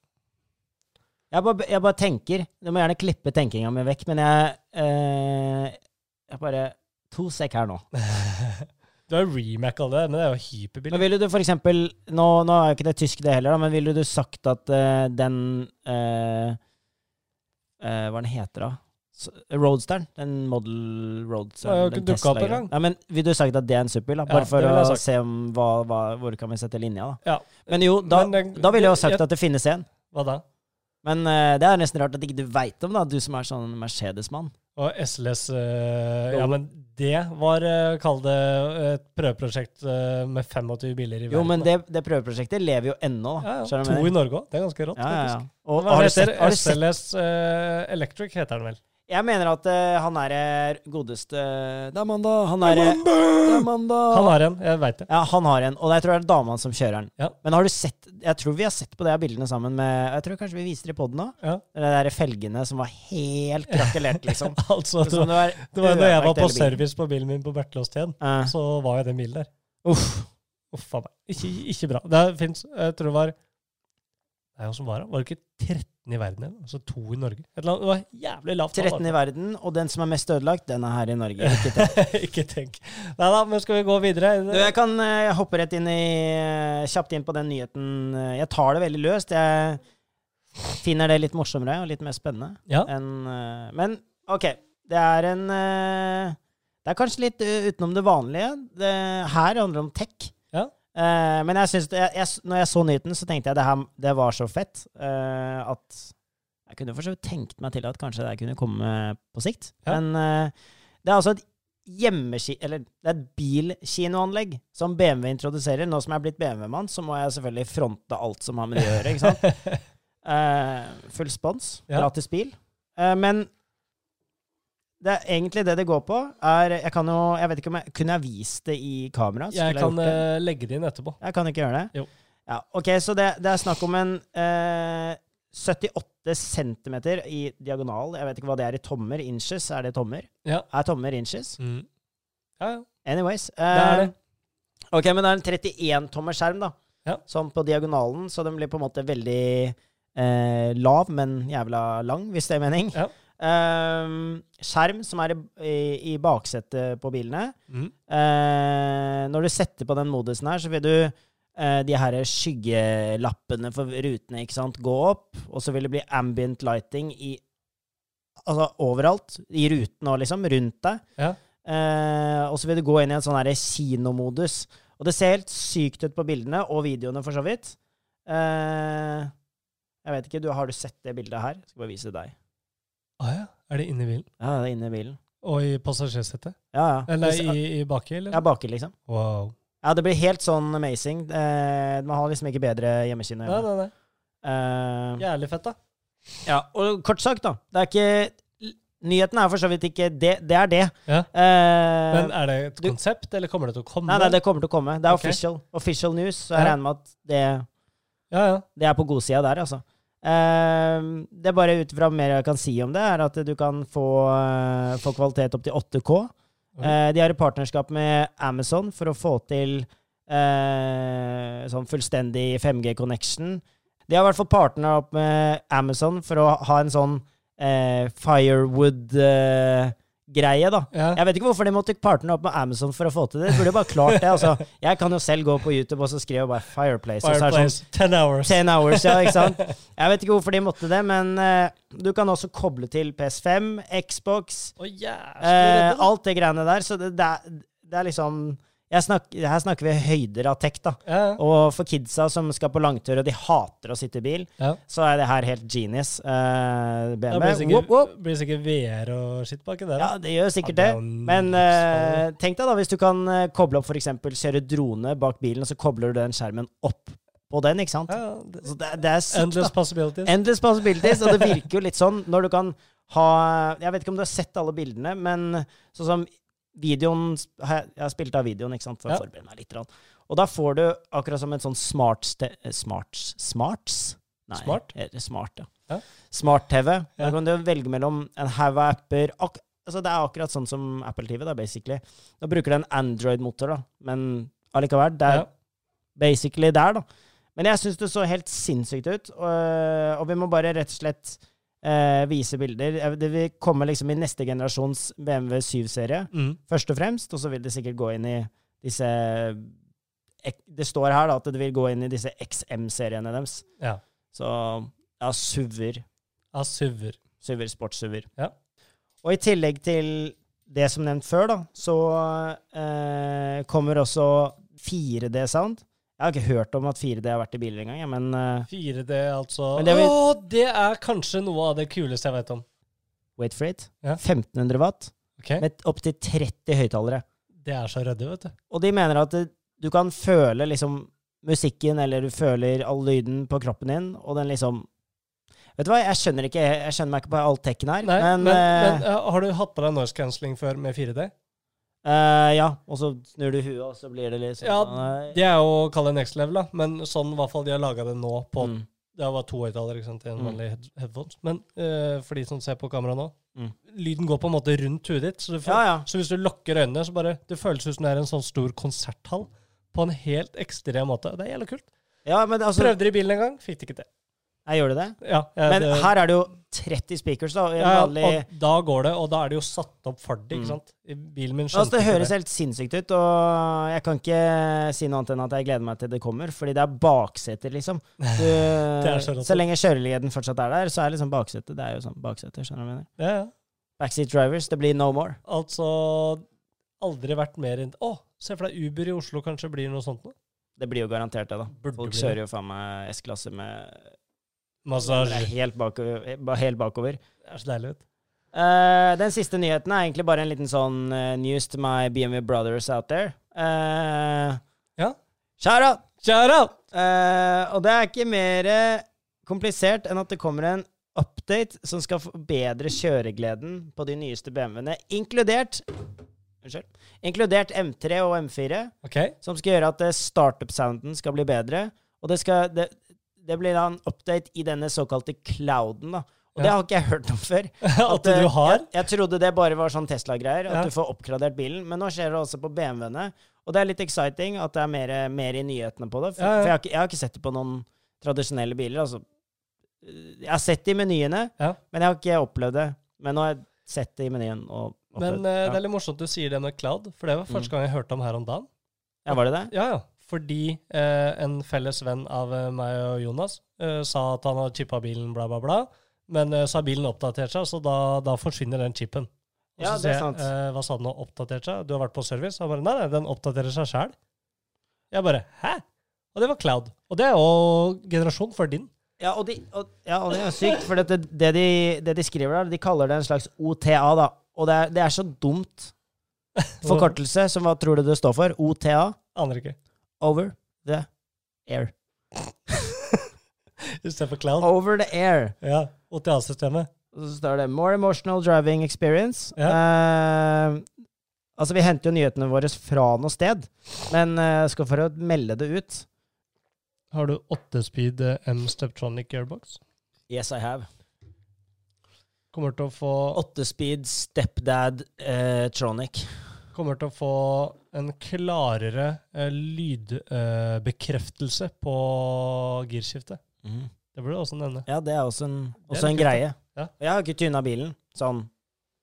S2: Jeg bare, jeg bare tenker Du må gjerne klippe tenkinga mi vekk, men jeg eh, Jeg bare To sek her nå.
S1: Du har remacka det, men det er jo
S2: Men
S1: hyperbillig.
S2: ville du for eksempel Nå, nå er jo ikke det tysk, det heller, da, men ville du sagt at eh, den eh, eh, Hva den heter da? S- Roadsteren? Den Model Roadsteren?
S1: Den har jo ikke
S2: den
S1: dukket opp
S2: Tesla-greien.
S1: engang.
S2: Nei, men Ville du sagt at det er en superbil? da?
S1: Ja,
S2: Bare
S1: det ville jeg
S2: for å
S1: sagt.
S2: se om hva, hva, hvor kan vi sette linja, da.
S1: Ja.
S2: Men jo, da,
S1: Men den-
S2: da ville jeg jo sagt
S1: jeg-
S2: at det finnes en.
S1: Hva da?
S2: Men eh, det er nesten rart at ikke du veit om, da, du som er sånn Mercedes-mann.
S1: Og SLS eh, Ja, men det var, eh, kall det, et prøveprosjekt eh, med 25 biler i verden.
S2: Jo, men
S1: da.
S2: det, det prøveprosjektet lever jo ennå, da.
S1: ja, ja.
S2: Skjønner du
S1: To
S2: hva jeg
S1: i Norge òg. Det er ganske rått,
S2: mener? ja, ja, ja.
S1: faktisk.
S2: Og,
S1: Hva
S2: har du
S1: heter
S2: sett, har du sett
S1: SLS eh, Electric, heter den vel.
S2: Jeg mener at eh, han er eh, godeste Det er mandag. Han er eh, Det er
S1: Han
S2: mandag.
S1: har en, jeg veit det.
S2: ja, han har en, og jeg tror det er dama som kjører den.
S1: Ja.
S2: Men har du sett Jeg tror vi har sett på de her bildene sammen med Jeg tror kanskje vi viser det i poden òg.
S1: Ja.
S2: De der felgene som var helt krakelert, liksom.
S1: Altså, det
S2: Som
S1: var,
S2: det var,
S1: det var når jeg var
S2: ødelagt
S1: på
S2: hele bilen.
S1: service på bilen min på Bertelåstjen,
S2: Eh,
S1: så var jeg i den bilen der.
S2: uff.
S1: Uff a meg. Ikke, ikke bra. Det fins Jeg tror det var Nei, hvordan var det? Var det ikke 13 i verden? eller? Altså to i Norge? Et eller annet. Det var jævlig lavt.
S2: 13 i verden, og den som er mest ødelagt, den er her i Norge. Ikke tenk.
S1: verden. ikke tenk. Nei da, men skal vi gå videre?
S2: Du, jeg kan eh, hoppe rett inn i, eh, kjapt inn på den nyheten. Eh, Jeg tar det veldig løst. Jeg finner det litt morsommere og litt mer spennende.
S1: Ja.
S2: enn, eh, men OK, det er en eh, Det er kanskje litt eh, utenom det vanlige. Det, her handler det om tech.
S1: Ja.
S2: Eh, men jeg synes det, jeg, jeg, når jeg så nyheten, så tenkte jeg det her det var så fett eh, at jeg kunne for så vidt tenkt meg til at kanskje det her kunne komme på sikt.
S1: Ja.
S2: Men eh, det er altså et hjemmeski... Eller det er et bilkinoanlegg som BMW introduserer. Nå som jeg er blitt BMW-mann, så må jeg selvfølgelig fronte alt som har med det å gjøre. ikke sant? Eh, full spons,
S1: Ja.
S2: gratis bil. Eh, men det er egentlig det det går på, er Jeg kan jo Jeg vet ikke om jeg kunne jeg vist det i kamera. Skulle
S1: jeg
S2: gjort
S1: kan
S2: det?
S1: eh, legge det inn etterpå.
S2: Jeg kan ikke gjøre det?
S1: Jo.
S2: Ja, ok, så det, det er snakk om en eh, 78 cm i diagonal. Jeg vet ikke hva det er i tommer. Inches, er det tommer?
S1: Ja.
S2: Er tommer inches?
S1: Mm. Ja, ja.
S2: Anyways.
S1: er
S2: eh,
S1: det.
S2: Ok, men det er en 31 tommer skjerm, da.
S1: Ja.
S2: Sånn på diagonalen, så den blir på en måte veldig eh, lav, men jævla lang, hvis det er mening.
S1: Ja.
S2: Ehm, skjerm som er i, i, i baksetet på bilene.
S1: Mhm.
S2: Eh, når du setter på den modusen her, så vil du eh, de her skyggelappene for rutene ikke sant, gå opp, og så vil det bli ambient lighting i, altså overalt, i ruten og liksom, rundt deg.
S1: Ja.
S2: Eh, og så vil du gå inn i en sånn her kinomodus. Og det ser helt sykt ut på bildene, og videoene for så vidt. Eh, jeg vet ikke, du, har du sett det bildet her? Jeg skal bare vise deg.
S1: Ah, ja. Er det inni bilen?
S2: Ja, det er inne i bilen.
S1: Og i passasjersetet?
S2: Ja, ja.
S1: Eller i, i baki, eller?
S2: Ja, baki, liksom.
S1: Wow.
S2: Ja, det blir helt sånn amazing. Eh, man har liksom ikke bedre hjemmekino.
S1: Nei,
S2: hjemme.
S1: nei, nei.
S2: Eh,
S1: Jævlig fett, da.
S2: ja, og kort sagt, da. Det er ikke Nyheten er for så vidt ikke det. Det er det.
S1: Ja.
S2: Eh,
S1: Men er det et
S2: du-
S1: konsept, eller kommer det til å komme?
S2: nei, nei, det kommer til å komme. Det er
S1: Ok.
S2: official, official news. Så
S1: Ja.
S2: jeg regner med at det,
S1: Ja, ja.
S2: det er på godsida der, altså. Eh, det er bare ut fra mer jeg kan si om det, er at du kan få, eh, få kvalitet opp til 8K.
S1: Oi.
S2: Eh, de har et partnerskap med Amazon for å få til eh, sånn fullstendig 5G-connection. De har i hvert fall partnera opp med Amazon for å ha en sånn eh, firewood-greie, da.
S1: ja.
S2: Jeg vet ikke hvorfor de måtte partnere opp med Amazon for å få til det. De burde bare klart det, altså. Jeg kan jo selv gå på YouTube og så skrive bare 'Fireplace'. Og så er det sånn
S1: Fireplace, 10 hours.
S2: 10 hours, ja, ikke sant? Jeg vet ikke hvorfor de måtte det, men eh, du kan også koble til PS5, Xbox,
S1: Å, jævlig
S2: eh,
S1: redd, da.
S2: alt det greiene der. Så det, det, er, det er liksom jeg snak, Her snakker vi høyder av tech, da.
S1: Ja, ja.
S2: Og for kidsa som skal på langtur, og de hater å sitte i bil,
S1: Ja.
S2: så er det her helt genius. Eh,
S1: Det blir
S2: BMW. Whoop, whoop.
S1: sikkert, blir sikkert VR og skitt baki der.
S2: Ja,
S1: da.
S2: det gjør sikkert
S1: Ja, det
S2: det.
S1: er jo en
S2: Men eh, tenk deg da, hvis du kan eh, koble opp f.eks. kjøre drone bak bilen, og så kobler du den skjermen opp på den, ikke sant?
S1: Ja, ja, det-
S2: Så det, det er sykt, da.
S1: Endless possibilities.
S2: Endless possibilities, og det virker jo litt sånn når du kan ha Jeg vet ikke om du har sett alle bildene, men sånn som videoen har Jeg jeg har spilt av videoen, ikke sant, for å
S1: Ja.
S2: forberede meg litt. grann. Og da får du akkurat som en sånn smart ste- eh, Smarts? Smarts? Nei,
S1: Smart?
S2: eh, Smart, ja.
S1: Ja.
S2: Smart-TV.
S1: Ja.
S2: Da kan du velge mellom en haug av apper ak altså Det er akkurat sånn som Apple TV, da, basically. Da bruker du en Android-motor, da, men allikevel. Det er
S1: Ja.
S2: basically der, da. Men jeg syns det så helt sinnssykt ut, og, og vi må bare rett og slett eh, vise bilder. Eh, Det vil komme liksom i neste generasjons BMW 7-serie,
S1: Mm.
S2: først og fremst, og så vil det sikkert gå inn i disse ek- Det står her da, at det vil gå inn i disse XM-seriene deres.
S1: Ja.
S2: Så ja, SUV-er.
S1: Ja, suver.
S2: SUV-er, sports-SUV-er.
S1: Ja.
S2: Og i tillegg til det som nevnt før, da, så eh, kommer også 4D-sound. Jeg har ikke hørt om at 4D har vært i biler engang, jeg, men eh,
S1: 4D, altså.
S2: Men det vil-
S1: Å, det er kanskje noe av det kuleste jeg vet om.
S2: wait for it,
S1: Ja.
S2: 1500 watt
S1: Ok?
S2: med opptil 30 høyttalere.
S1: Det er så ryddig, vet du.
S2: Og de mener at det- du kan føle liksom musikken, eller du føler all lyden på kroppen din, og den liksom Vet du hva, jeg skjønner, ikke, jeg skjønner meg ikke på all tekken her,
S1: Nei, men,
S2: men,
S1: men
S2: eh,
S1: eh, har du hatt på deg noise cancelling før med 4D?
S2: eh, Ja, og så snur du huet, og så blir det litt sånn
S1: Ja,
S2: eh,
S1: Det er jo å kalle next level, da. Men sånn i hvert fall de har laga det nå på
S2: mm.
S1: Det var to høyttalere ikke sant, i en
S2: Mm.
S1: vanlig head headphones. Men eh, for de som ser på kamera nå,
S2: Mm.
S1: lyden går på en måte rundt huet ditt. Så, du får,
S2: Ja, ja.
S1: så hvis du lukker øynene, så bare Det føles ut som det er en sånn stor konserthall på en helt ekstrem måte. Det er jævla kult.
S2: Ja, men altså
S1: Prøvde det i bilen en gang, fikk det ikke til.
S2: Jeg gjør det det?
S1: Ja, jeg,
S2: Men
S1: det,
S2: her er det jo 30 speakers, da. og En
S1: ja, ja,
S2: vanlig
S1: og da går det, og da er det jo satt opp ferdig,
S2: Mm.
S1: ikke sant. I bilen min
S2: Altså,
S1: skjønte
S2: det
S1: ikke
S2: høres helt sinnssykt ut, og jeg kan ikke si noe annet enn at jeg gleder meg til det kommer, fordi det er bakseter, liksom. Du,
S1: er så rått.
S2: så lenge kjøreligheten fortsatt er der, så er liksom baksetet Det er jo sånn bakseter, skjønner du hva jeg mener?
S1: Ja, ja.
S2: Backseat drivers, det blir no more.
S1: Altså Aldri vært mer enn Å, se for deg Uber i Oslo kanskje blir noe sånt noe.
S2: Det blir jo garantert det, da.
S1: Burde
S2: Folk
S1: bli
S2: kjører jo faen meg S-klasse med det er
S1: Massasje.
S2: helt bakover. Helt bakover.
S1: Det er så deilig, vet du.
S2: Eh, den siste nyheten er egentlig bare en liten sånn eh, news to my BMW brothers out there. Eh,
S1: Ja.
S2: Shout out!
S1: Shout out!
S2: Eh, og det er ikke mer eh, komplisert enn at det kommer en update som skal forbedre kjøregleden på de nyeste BMW-ene, inkludert Unnskyld. Inkludert M3 og M4,
S1: OK.
S2: som skal gjøre at eh, startup-sounden skal bli bedre. Og det, skal, det, det blir da en update i denne såkalte clouden, da. Og det
S1: Ja.
S2: har ikke jeg hørt om før.
S1: At
S2: eh,
S1: du har?
S2: Jeg, jeg trodde det bare var sånn Tesla-greier, at
S1: Ja.
S2: du får oppgradert bilen. Men nå skjer det også på BMW-ene. Og det er litt exciting at det er mer, mer i nyhetene på det. For,
S1: Ja, ja.
S2: for jeg, har ikke, jeg har ikke sett det på noen tradisjonelle biler. Altså Jeg har sett det i menyene,
S1: Ja.
S2: men jeg har ikke opplevd det. Men nå har jeg sett det i menyen og opplevd
S1: Men eh, det
S2: ja.
S1: er litt morsomt du sier det med cloud, for det var
S2: Mm.
S1: første gang jeg hørte om her om dagen.
S2: ja, var det det?
S1: Ja, ja. Fordi eh, en felles venn av eh, meg og Jonas eh, sa at han hadde chippa bilen, bla, bla, bla. Men eh, så har bilen oppdatert seg, så da, da forsvinner den chipen. Og
S2: Ja,
S1: så
S2: det
S1: sier
S2: er
S1: jeg,
S2: sant.
S1: Eh, hva sa du nå? Oppdatert seg? Du har vært på service? Han bare nei, nei, den oppdaterer seg sjæl. Jeg bare hæ? Og det var Cloud. Og det er jo generasjon for din.
S2: Ja, og, de, og, ja, og det er sykt, for det, det, de, det de skriver der, de kaller det en slags OTA, da. Og det er, det er så dumt forkortelse, som hva tror du det står for? OTA?
S1: Aner ikke.
S2: Over the air.
S1: Istedenfor Cloud.
S2: Over the air.
S1: Ja. OTA-systemet.
S2: Og så står det 'More emotional driving experience'.
S1: Ja.
S2: Eh, altså, vi henter jo nyhetene våre fra noe sted, men eh, skal for å melde det ut.
S1: Har du åttespeed M Steptronic airbox?
S2: Yes, I have.
S1: Kommer til å få
S2: Åttespeed stepdad eh, tronic.
S1: kommer til å få en klarere eh, lydbekreftelse på girskiftet. Det burde du også nevne.
S2: Ja, Mm. det er også en,
S1: er
S2: også en
S1: litt kult, da.
S2: greie.
S1: Ja.
S2: Og Jeg har ikke tuna bilen sånn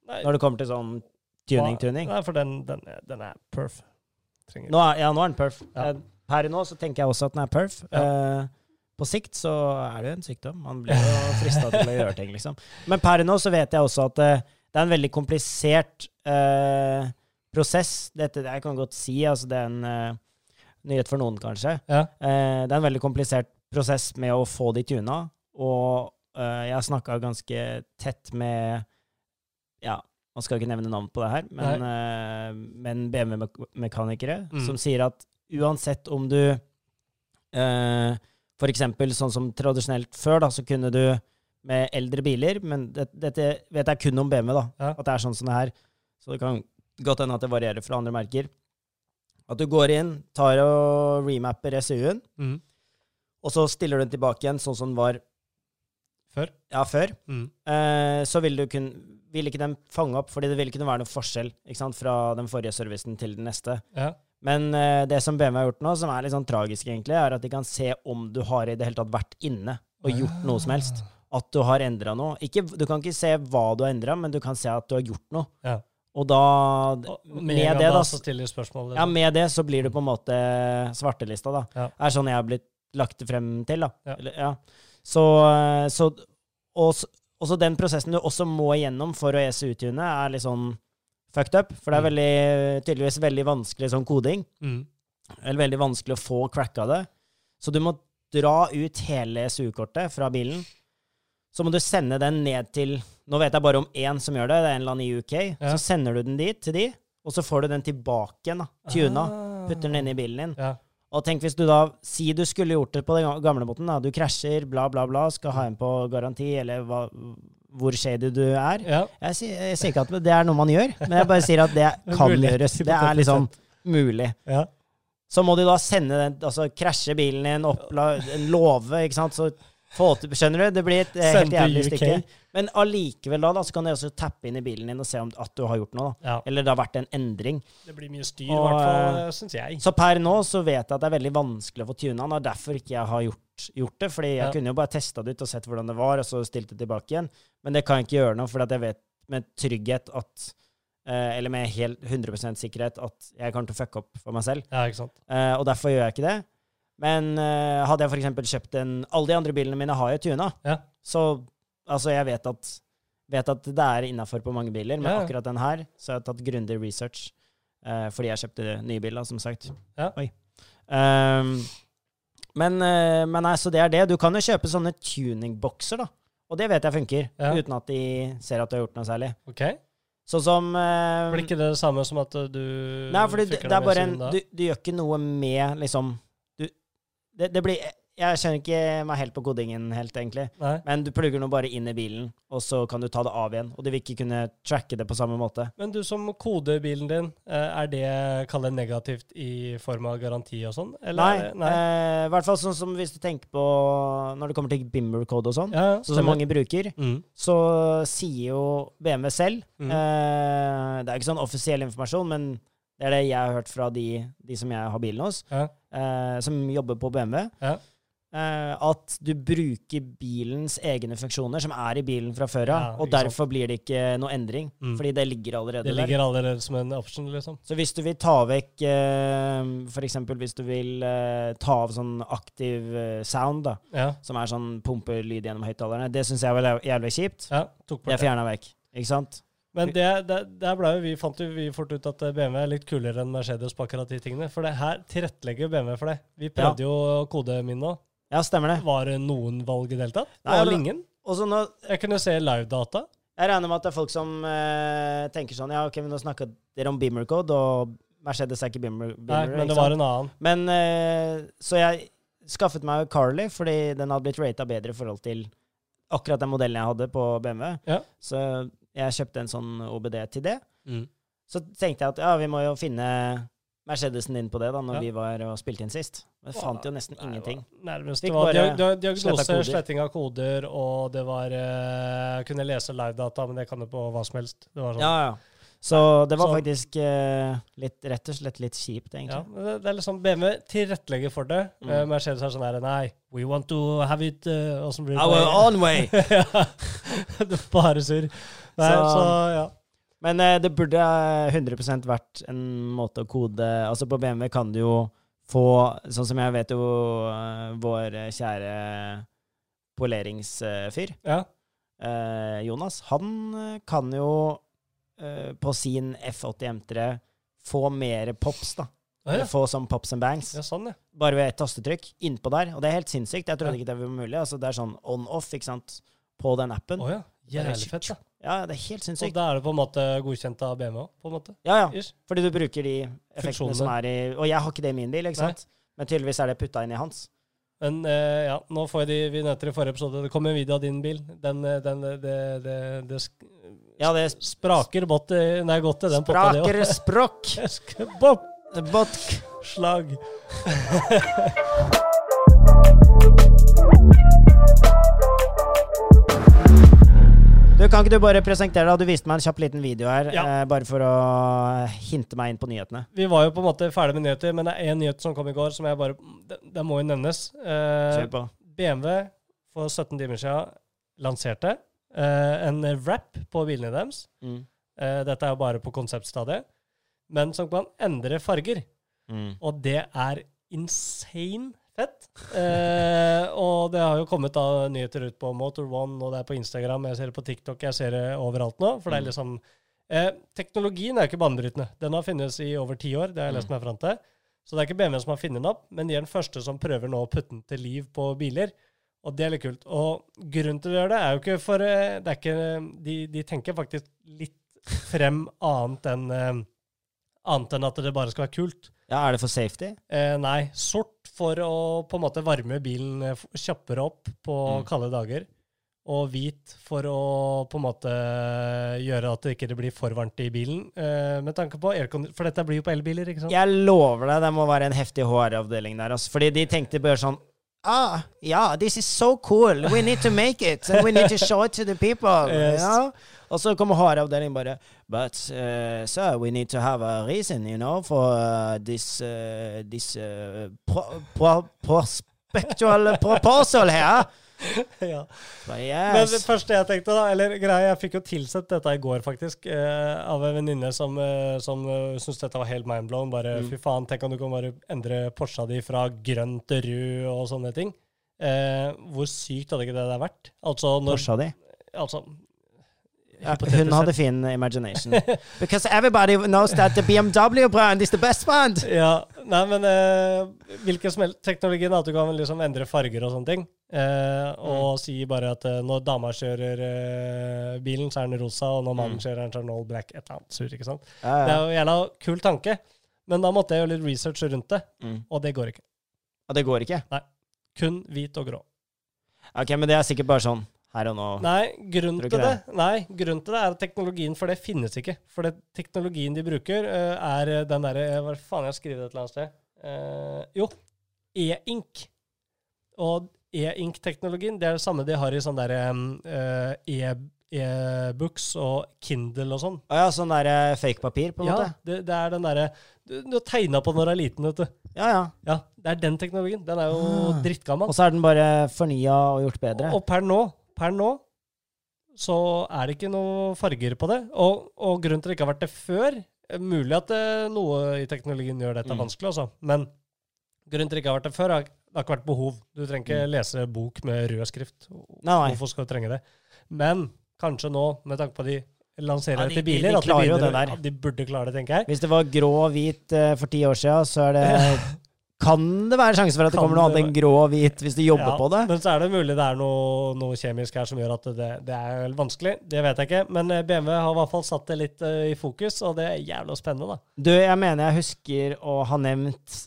S1: Nei.
S2: når det kommer til sånn tuning-tuning.
S1: Nei, for den, den, er- den er perf. Trenger
S2: Nå er, ja, nå er den perf.
S1: Ja.
S2: Eh, Per nå så tenker jeg også at den er perf. Eh, på sikt så er det jo en sykdom. Man blir jo frista til å gjøre ting, liksom. Men per nå så vet jeg også at eh, det er en veldig komplisert eh, prosess. Dette jeg kan godt si, altså det er en eh, nyhet for noen, kanskje.
S1: Ja.
S2: Eh, det er en veldig komplisert prosess med å få de tuna, og eh, jeg har snakka ganske tett med Ja, man skal ikke nevne navn på det her, men, eh, men BMW-mekanikere
S1: Mm.
S2: som sier at uansett om du eh, For eksempel sånn som tradisjonelt før, da, så kunne du med eldre biler Men det, dette vet jeg kun om BMW, da.
S1: Ja.
S2: At det er sånn som det her. Så det kan godt hende at det varierer fra andre merker. At du går inn, tar og remapper SU-en,
S1: Mm.
S2: og så stiller du den tilbake igjen sånn som den var
S1: Før?
S2: ja, før.
S1: Mm.
S2: Eh, så vil, du kun, vil ikke den fange opp, fordi det vil ikke kunne være noen forskjell ikke sant, fra den forrige servicen til den neste.
S1: Ja.
S2: Men eh, det som BMW har gjort nå, som er litt sånn tragisk egentlig, er at de kan se om du har i det hele tatt vært inne og gjort
S1: Ah.
S2: noe som helst. At du har endra noe. Ikke, du kan ikke se hva du har endra, men du kan se at du har gjort noe.
S1: Ja.
S2: Og da
S1: Og
S2: Med,
S1: en gang
S2: det, da,
S1: så stiller du spørsmål. liksom.
S2: ja, med det så blir du på en måte svartelista, da.
S1: Ja.
S2: er sånn jeg har blitt lagt frem til, da.
S1: Ja.
S2: Eller, ja. Så, eh, så og, s- og så den prosessen du også må igjennom for å ECU-tune, er litt sånn fucked up. For det er veldig, tydeligvis veldig vanskelig sånn koding.
S1: Mm.
S2: Eller veldig vanskelig å få cracka det. Så du må dra ut hele SU-kortet fra bilen. Så må du sende den ned til Nå vet jeg bare om én som gjør det, det er en eller annen i UK.
S1: Ja.
S2: Så sender du den dit, til de, og så får du den tilbake igjen, da. Tuna.
S1: Ah.
S2: Putter den inn i bilen din.
S1: Ja.
S2: Og tenk hvis du da, si du skulle gjort det på den ga- gamle måten, da. Du krasjer, bla, bla, bla, skal ha en på garanti, eller hva, hvor shady du er.
S1: ja.
S2: Jeg sier, jeg sier ikke at det er noe man gjør, men jeg bare sier at
S1: Det
S2: det
S1: er
S2: kan
S1: mulig.
S2: gjøres. Det er liksom mulig.
S1: Ja.
S2: Så må du da sende den, altså krasje bilen din, oppla, en låve, ikke sant, så få til, skjønner du? Det blir et eh,
S1: Send
S2: helt
S1: til
S2: jævlig
S1: UK.
S2: stykke. Men allikevel da, da, så kan du også tappe inn i bilen din og se om at du har gjort noe, da.
S1: ja.
S2: Eller det har vært en endring.
S1: Det blir mye styr, i
S2: Og, eh,
S1: hvert fall, syns jeg.
S2: Så per nå så vet jeg at det er veldig vanskelig å få tuna den, og derfor ikke jeg har gjort, gjort det. Fordi jeg
S1: Ja.
S2: kunne jo bare testa det ut og sett hvordan det var, og så stilt det tilbake igjen. Men det kan jeg ikke gjøre nå, for at jeg vet med trygghet at eh, Eller med helt 100 sikkerhet at jeg kommer til å fucke opp for meg selv.
S1: Ja, ikke sant.
S2: Eh, og derfor gjør jeg ikke det. Men eh, hadde jeg f.eks. kjøpt en Alle de andre bilene mine har jo tuna,
S1: Ja.
S2: så altså, jeg vet at, vet at det er innafor på mange biler, men
S1: Ja, ja.
S2: akkurat den her så har jeg tatt grundig research. eh, fordi jeg kjøpte nye biler, som sagt.
S1: Ja.
S2: Oi. Ehm, men, eh, men nei, så det er det. Du kan jo kjøpe sånne tuningbokser, da. Og det vet jeg funker,
S1: Ja.
S2: uten at de ser at du har gjort noe særlig.
S1: Ok.
S2: Sånn som eh,
S1: Blir ikke det det samme som at uh, du
S2: Nei, for det,
S1: fikk
S2: det er bare en
S1: den med
S2: du, du gjør ikke noe med liksom du, det, det blir Jeg skjønner ikke meg helt på kodingen helt, egentlig.
S1: siden da? Nei.
S2: Men du plugger nå bare inn i bilen, og så kan du ta det av igjen. Og du vil ikke kunne tracke det på samme måte.
S1: Men du som koder bilen din, eh, er det kallet negativt i form av garanti og sånn? eller
S2: Nei.
S1: er det-
S2: I hvert fall sånn som hvis du tenker på når det kommer til Bimber-kode og sånn,
S1: Ja, ja,
S2: så som
S1: stemmer.
S2: mange bruker,
S1: mm.
S2: så sier jo BMW selv
S1: Mm.
S2: eh, Det er ikke sånn offisiell informasjon, men det er det jeg har hørt fra de, de som jeg har bilen hos.
S1: ja.
S2: eh, som jobber på BMW.
S1: Ja.
S2: eh, at du bruker bilens egne funksjoner, som er i bilen fra før av,
S1: Ja, ikke
S2: og
S1: sant.
S2: derfor blir det ikke noe endring.
S1: Mm.
S2: Fordi det ligger allerede
S1: Det
S2: der.
S1: ligger allerede som en option, liksom.
S2: Så hvis du vil ta vekk eh, For eksempel hvis du vil eh, ta av sånn aktiv eh, sound, da,
S1: Ja.
S2: som er sånn pumpelyd gjennom høyttalerne, det syns jeg vel er jævlig kjipt.
S1: ja tok
S2: Det
S1: bort
S2: er
S1: det.
S2: fjerna vekk, ikke sant?
S1: Men det, det, der ble jo vi, fant jo vi fort ut at eh, BMW er litt kulere enn Mercedes på akkurat de tingene. For det her tilrettelegger BMW for det. Vi prøvde jo kode min nå.
S2: Ja, stemmer det.
S1: Var det noen valg i det hele tatt? Det
S2: Nei,
S1: var
S2: men-
S1: vel ingen.
S2: Og så nå
S1: Jeg kunne se live-data.
S2: Jeg regner med at det er folk som eh, tenker sånn Ja, ok, men nå snakka dere om Beamer Code, og Mercedes er ikke Beamer,
S1: Nei,
S2: Beamer
S1: men
S2: ikke
S1: det var
S2: sant?
S1: en annen.
S2: Men eh, Så jeg skaffet meg jo Carly, fordi den hadde blitt rata bedre i forhold til akkurat den modellen jeg hadde på BMW.
S1: Ja.
S2: Så jeg kjøpte en sånn OBD til det. Så tenkte jeg at ja, vi må jo finne Mercedesen din på det, da, når
S1: Ja.
S2: vi var og spilte inn sist. Men jeg fant jo nesten ingenting.
S1: Det var nærmest
S2: Fikk
S1: det var
S2: bare
S1: dia- dia-
S2: sletta
S1: diagnose,
S2: koder.
S1: sletting av koder, og det var eh, Kunne lese live-data, men det kan du på hva som helst. Det var sånn.
S2: Ja, ja. Så det var
S1: Så-
S2: faktisk eh, litt, rett og slett litt kjipt,
S1: Ja,
S2: egentlig.
S1: men det, det er liksom BMW tilrettelegger for det.
S2: Mm.
S1: Eh, Mercedes er sånn her Nei, we want to have it eh, og så blir det
S2: own way!
S1: Ja. Det er Bare surr. Nei,
S2: Så-
S1: så, ja.
S2: Men eh, det burde eh, 100 vært en måte å kode Altså, på BMW kan du jo få Sånn som jeg vet jo eh, vår eh, kjære poleringsfyr,
S1: ja.
S2: eh, Jonas, han eh, kan jo eh, på sin F80 M3 få mer pops, da.
S1: Å, ja.
S2: Få sånn pops and bangs.
S1: ja, sånn, ja.
S2: Bare ved et tastetrykk innpå der. Og det er helt sinnssykt. Jeg trodde
S1: Ja.
S2: ikke det var mulig. Altså, det er sånn on-off, ikke sant, på den appen.
S1: Å, ja. Jævlig fett, da.
S2: Ja, det er helt
S1: Og
S2: sinnssykt.
S1: da er det på en måte godkjent av BMW òg, på en måte.
S2: Ja, ja.
S1: Ish.
S2: Fordi du bruker de effektene
S1: Funksjonene.
S2: som er i Og jeg har ikke det i min bil, ikke sant? Men tydeligvis er det putta inn i hans.
S1: Men eh, ja, nå får jeg de vi nevnte i forrige episode. Det kom en video av din bil. Den, eh, den, det, det- det, det sk
S2: Ja, det
S1: spraker bot i- Nei, godt i den potta, det
S2: spraker språk.
S1: òg. Bop!
S2: Botk.
S1: Slag.
S2: Du, kan ikke du bare presentere deg? Du viste meg en kjapp liten video her,
S1: Ja.
S2: eh, bare for å hinte meg inn på nyhetene.
S1: Vi var jo på en måte ferdig med nyheter, men det er én nyhet som kom i går som jeg bare Den, den må jo nevnes. Eh,
S2: Kjør på.
S1: BMW for 17 timer siden lanserte eh, en wrap på bilene deres.
S2: Mm.
S1: Eh, dette er jo bare på konseptstadiet. Men som kan endre farger.
S2: Mm.
S1: Og det er insane fett. Eh, og det har jo kommet da nyheter ut på Motor One, og det er på Instagram, jeg ser det på TikTok, jeg ser det overalt nå. For det er liksom eh, Teknologien er jo ikke banebrytende. Den har funnes i over ti år, det har jeg lest meg fram til. Så det er ikke BMW som har funnet den opp, men de er den første som prøver nå å putte den til liv på biler. Og det er litt kult. Og grunnen til å gjøre det er jo ikke for eh, det er ikke, de, de tenker faktisk litt frem annet enn, eh, annet enn at det bare skal være kult.
S2: Ja, er det for safety?
S1: Eh, nei, sort for å på en måte varme bilen eh, f- kjappere opp på
S2: Mm.
S1: kalde dager. Og hvit for å på en måte gjøre at det ikke blir for varmt i bilen. Eh, med tanke på aircon... For dette blir jo på elbiler, ikke sant?
S2: Jeg lover deg, det må være en heftig HR-avdeling der, altså. Fordi de tenkte bare sånn Ah, yeah, this is so cool. We need to make it. And we need to show it to the people.
S1: Yes.
S2: You know? Og så kommer HR-avdelingen bare But, uh, sir, we need to have a reason, you know, for uh, this, uh, this uh, pro pro prospectual proposal here.
S1: ja.
S2: But
S1: Men det
S2: yes.
S1: første jeg tenkte, da, eller greia, jeg fikk jo tilsett dette i går, faktisk, eh, av en venninne som, eh, som eh, syntes dette var helt mindblown. Bare
S2: Mm.
S1: fy faen, tenk om du kan bare endre Porscha di fra grønn til rød og sånne ting. Eh, hvor sykt hadde ikke det der vært? Altså, når
S2: Porscha di.
S1: altså,
S2: Ja,
S1: hypotetisk
S2: Hun hadde
S1: sett.
S2: fin imagination. Because everybody knows that the BMW brand is the best brand.
S1: Ja, nei, men eh, hvilken som helst teknologi da, at du kan liksom endre farger og sånne ting, eh, og si bare at eh, når dama kjører eh, bilen, så er den rosa, og når mannen kjører den, så er den all black, et eller annet sur, ikke sant?
S2: Ja,
S1: Det
S2: ja.
S1: er jo en jævla kul tanke, men da måtte jeg gjøre litt research rundt det,
S2: Mm.
S1: og det går ikke.
S2: Og det går ikke.
S1: Kun hvit og grå.
S2: Ok, men det er sikkert bare sånn her og nå.
S1: Nei, grunnen
S2: Tror du
S1: til det,
S2: ikke
S1: nei, grunnen til det er at teknologien for det finnes ikke. For det, teknologien de bruker, eh, er den derre Hva faen, jeg skriver det et eller annet sted. Eh, jo, e-ink. Og e-ink-teknologien, det er det samme de har i sånn derre um, mm, e-books og Kindle og sånn.
S2: Å ja, sånn der eh, fake-papir, på en
S1: Ja,
S2: måte?
S1: det, det er den derre Du, du har tegna på når du er liten, vet du.
S2: Ja, ja.
S1: Ja, det er den teknologien. Den er jo
S2: Ah.
S1: drittgammal.
S2: Og så er den bare fornya og gjort bedre.
S1: Og per nå, per nå så er det ikke noe farger på det. Og, og grunnen til at det ikke har vært det før eh, Mulig at eh, noe i teknologien gjør dette
S2: Mm.
S1: vanskelig, altså. Men grunnen til at det ikke har vært det før, har, det har ikke vært behov. Du trenger ikke lese bok med rød skrift.
S2: Mm. Nei, nei.
S1: Hvorfor skal du trenge det? Men kanskje nå, med tanke på de lanserer
S2: Ja, de-
S1: etter
S2: de- de
S1: biler, at de,
S2: klarer jo
S1: begynner-
S2: det der.
S1: at de burde klare det, tenker jeg.
S2: Hvis det var grå og hvit eh, for ti år siden, så er det Kan det være sjanse for at det
S1: Kan
S2: kommer noe
S1: det
S2: annet enn grå og hvit hvis du jobber
S1: Ja,
S2: på det?
S1: Men så er det mulig det er noe, noe kjemisk her som gjør at det, det er vel vanskelig. Det vet jeg ikke. Men eh, BMW har i hvert fall satt det litt eh, i fokus, og det er jævla spennende, da.
S2: Du, jeg mener jeg husker å ha nevnt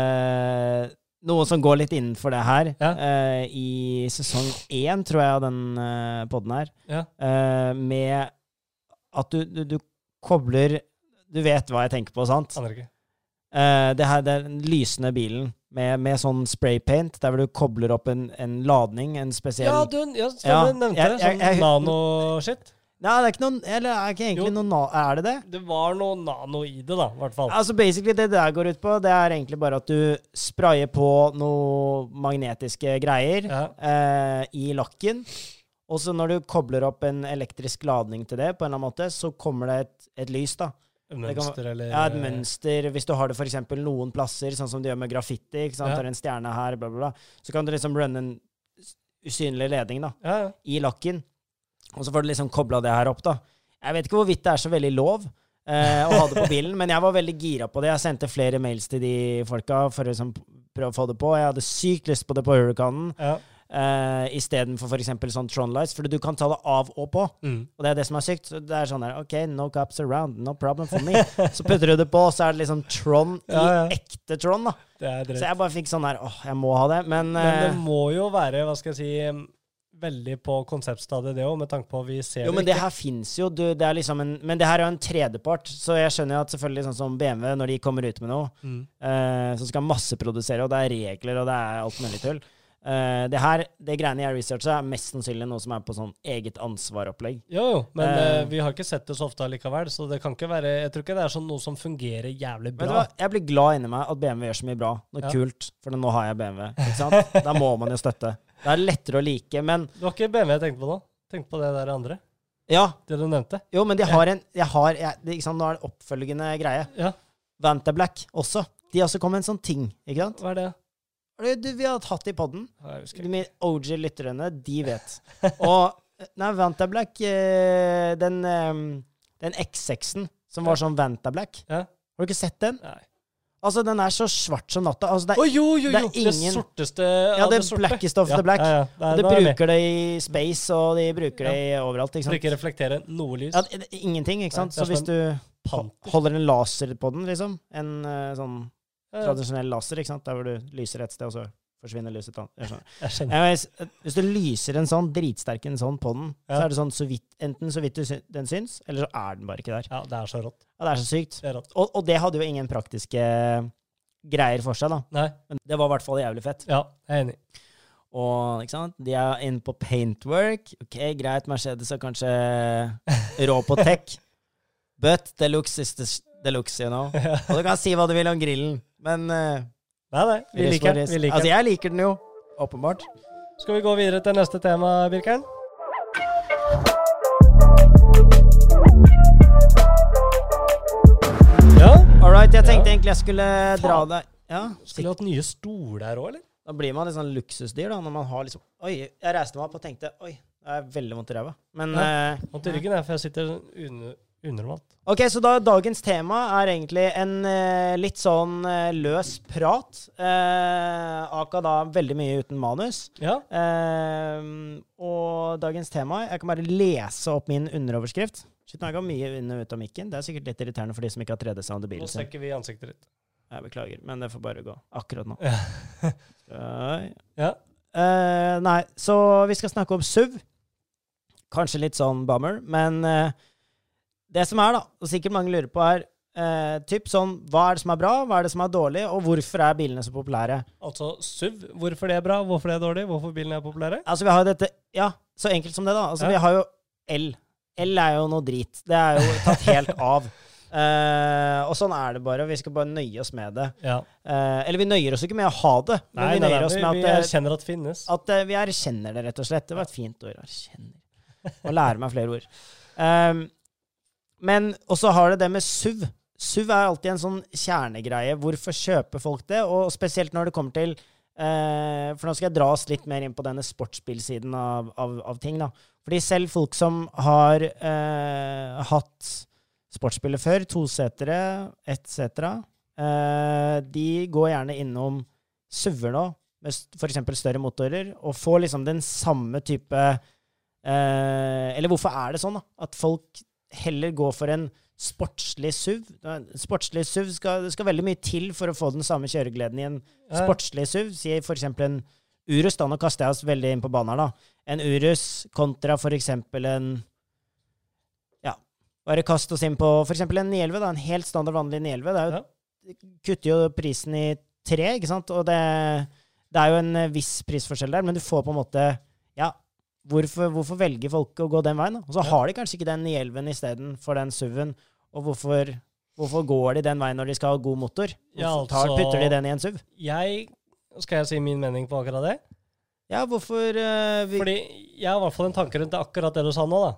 S2: eh, noe som går litt innenfor det her.
S1: Ja.
S2: eh, I sesong én, tror jeg, av den eh, podden her.
S1: Ja.
S2: eh, med at du, du, du kobler Du vet hva jeg tenker på, sant?
S1: Aner ikke.
S2: Eh, det her, det er den lysende bilen med, med sånn spraypaint, der hvor du kobler opp en, en ladning, en spesiell
S1: Ja, du ja, stemmer,
S2: Ja,
S1: nevnte
S2: jeg-
S1: det.
S2: jeg-
S1: Sånn
S2: jeg-
S1: nano-shit.
S2: Nei, det er ikke noen Eller er ikke egentlig
S1: Jo.
S2: noen na- Er det det?
S1: Det var noe nano i det, da, i hvert fall.
S2: Altså basically Det det der går ut på, det er egentlig bare at du sprayer på noe magnetiske greier
S1: Ja.
S2: eh, i lakken. Og så når du kobler opp en elektrisk ladning til det, på en eller annen måte, så kommer det et, et lys. da. kan-
S1: Mønster, eller
S2: Ja, et mønster. Hvis du har det for eksempel noen plasser, sånn som du gjør med graffiti, ikke sant?
S1: Ja.
S2: har en stjerne her, bla, bla, bla, så kan du liksom runne en s- usynlig ledning da,
S1: Ja, ja.
S2: i lakken. Og så får du liksom kobla det her opp, da. Jeg vet ikke hvorvidt det er så veldig lov eh, å ha det på bilen, men jeg var veldig gira på det. Jeg sendte flere mails til de folka for å liksom prøve å få det på. Jeg hadde sykt lyst på det på Hurricanen
S1: ja.
S2: eh, istedenfor f.eks. sånn Tron Lights, for du kan ta det av og på.
S1: Mm.
S2: Og det er det som er sykt. Så det er sånn der, OK, no cops around, no problem for me. Så putter du det på, så er det liksom Tron i
S1: Ja, ja.
S2: ekte Tron, da.
S1: Det er
S2: Så
S1: drøyt.
S2: jeg bare fikk sånn der, åh, jeg må ha det. Men,
S1: Men det
S2: eh,
S1: må jo være, hva skal jeg si, em, veldig på konseptstadiet, det òg, med tanke på at vi ser
S2: jo, men
S1: det.
S2: det her fins jo. Du, det er liksom en, men det her er jo en tredjepart, så jeg skjønner jo at selvfølgelig sånn som BMW, når de kommer ut med noe,
S1: ikke. Mm.
S2: eh, som skal masseprodusere, og det er regler, og det er alt mulig tull Eh, det her, det greiene jeg researcher, er mest sannsynlig noe som er på sånn eget ansvar-opplegg.
S1: Jo, jo, men
S2: Eh.
S1: eh, vi har ikke sett det så ofte allikevel, så det kan ikke være Jeg tror ikke det er sånn noe som fungerer jævlig
S2: Vet du
S1: bra.
S2: hva? Jeg blir glad inni meg at BMW gjør så mye bra. Noe
S1: Ja.
S2: kult, for nå har jeg BMW. Ikke sant? Da må man jo støtte. Det er lettere å like, men
S1: Det var ikke BMW jeg tenkte på nå. Tenkte på det der andre.
S2: ja.
S1: Det du nevnte.
S2: Jo, men de har en jeg har, jeg, det- ikke sant? Nå er det oppfølgende greie.
S1: Ja.
S2: Vantablack også. De også kom med en sånn ting, ikke sant?
S1: Hva er det?
S2: Har Du, du, vi har hatt det i poden.
S1: Jeg husker
S2: De
S1: ikke.
S2: mine OG-lytterne, de vet. Og nei, Vantablack, eh, den, eh, den X6-en som var sånn Vantablack,
S1: Ja.
S2: har du ikke sett den?
S1: Nei.
S2: Altså, den er så svart som natta. Altså, det
S1: Å,
S2: er
S1: jo, jo, jo!
S2: det er
S1: Det,
S2: ingen-
S1: sorteste
S2: Ja,
S1: av
S2: det
S1: sorte.
S2: blackest of the black.
S1: Ja, ja, ja. Nei,
S2: Og
S1: nå
S2: de
S1: er jeg med.
S2: bruker det i space, og de bruker det i overalt. ikke
S1: For
S2: sant?
S1: ikke reflektere noe lys.
S2: Ja, det- det- ingenting, ikke sant?
S1: Nei,
S2: Så
S1: det er
S2: hvis du
S1: Pan.
S2: holder en laser på den, liksom, en eh, sånn
S1: Ja, ja.
S2: tradisjonell laser, ikke sant, der hvor du lyser et sted, og så forsvinner lyset et annet. Jeg skjønner.
S1: Eh, Jeg skjønner.
S2: Ja, sånn. men hvis- Hvis du lyser en sånn dritsterk en sånn på den,
S1: Ja.
S2: så er det sånn så vidt, enten så vidt du sy den syns, eller så er den bare ikke der.
S1: Ja, det er så rått.
S2: Ja, det er så sykt.
S1: Det er rått.
S2: Og, og det hadde jo ingen praktiske greier for seg, da.
S1: Nei,
S2: Men det var i hvert fall jævlig fett.
S1: ja, jeg er enig.
S2: Og ikke sant? de er inne på paintwork. Ok, Greit, Mercedes er kanskje rå på tech. But deluxe is the- deluxe, you know. Og du kan si hva du vil om grillen, men eh,
S1: Nei, nei, vi
S2: ris for
S1: liker den.
S2: ris.
S1: Vi liker
S2: Altså,
S1: den.
S2: jeg liker den jo. Åpenbart.
S1: Skal vi gå videre til neste tema, Birkeren? Ja?
S2: All right, jeg tenkte
S1: Ja.
S2: egentlig jeg skulle dra deg Ja,
S1: Skulle hatt nye stoler òg, eller?
S2: Da blir man litt sånn luksusdyr, da, når man har liksom Oi, jeg reiste meg opp og tenkte Oi, det er veldig vondt i ræva. Men eh,
S1: Vondt i ryggen, jeg, for jeg sitter under, undermalt.
S2: Ok, så da, dagens tema er egentlig en eh, litt sånn eh, løs prat. Eh, Aka da veldig mye uten manus.
S1: Ja.
S2: Eh, og dagens tema Jeg kan bare lese opp min underoverskrift. Shit, nå har jeg gått mye inn og ut av mikken. Det er sikkert litt irriterende for de som ikke har 3D-sound i
S1: Nå
S2: bilen sin.
S1: strekker vi ansiktet ditt.
S2: Jeg beklager, men det får bare gå akkurat nå. Oi.
S1: Ja.
S2: Eh, nei, så vi skal snakke om SUV. Kanskje litt sånn bummer, men eh, det som er, da, og sikkert mange lurer på, er eh, typ sånn Hva er det som er bra, hva er det som er dårlig, og hvorfor er bilene så populære?
S1: Altså SUV. Hvorfor det er bra, hvorfor det er dårlig, hvorfor bilene er populære.
S2: Altså, vi har jo dette Ja, så enkelt som det, da. Altså,
S1: Ja.
S2: vi har jo L. L er jo noe drit. Det er jo tatt helt av. Eh, og sånn er det bare. Vi skal bare nøye oss med det.
S1: Ja.
S2: Eh, eller vi nøyer oss ikke med å ha det, men
S1: Nei,
S2: vi
S1: nei,
S2: nøyer
S1: nei,
S2: oss
S1: vi,
S2: med at,
S1: vi
S2: det-
S1: erkjenner at det finnes.
S2: at eh, vi erkjenner det, rett og slett. Det var et fint ord. Erkjenner. Å lære meg flere ord. Ehm, men også har det det med SUV. SUV er alltid en sånn kjernegreie. Hvorfor kjøper folk det? Og spesielt når det kommer til eh, For nå skal jeg dra oss litt mer inn på denne sportsbilsiden av, av, av ting. da. Fordi selv folk som har eh, hatt sportsbiler før, tosetere etc., eh, de går gjerne innom SUV-er nå med f.eks. større motorer, og få liksom den samme type eh, Eller hvorfor er det sånn da? at folk heller går for en sportslig SUV? Da, en Sportslig SUV skal, det skal veldig mye til for å få den samme kjøregleden i en
S1: Ja.
S2: sportslig SUV. Si f.eks. en Urus, da nå kaster jeg oss veldig inn på banen her, da. En Urus kontra f.eks. en Ja, bare kast oss inn på f.eks. en 911, da. En helt standard vanlig 911. Det er jo
S1: Ja.
S2: kutter jo prisen i tre, ikke sant? Og det, det er jo en eh, viss prisforskjell der, men du får på en måte Ja, hvorfor, hvorfor velger folk å gå den veien? da? Og så
S1: Ja.
S2: har de kanskje ikke den 911 istedenfor den SUV-en, og hvorfor, hvorfor går de den veien når de skal ha god motor? Hvorfor
S1: Ja,
S2: tar,
S1: altså-
S2: putter de den i en SUV?
S1: Jeg Skal jeg si min mening på akkurat det?
S2: Ja, hvorfor eh, vi,
S1: Fordi jeg har i hvert fall en tanke rundt det, akkurat det du sa nå, da.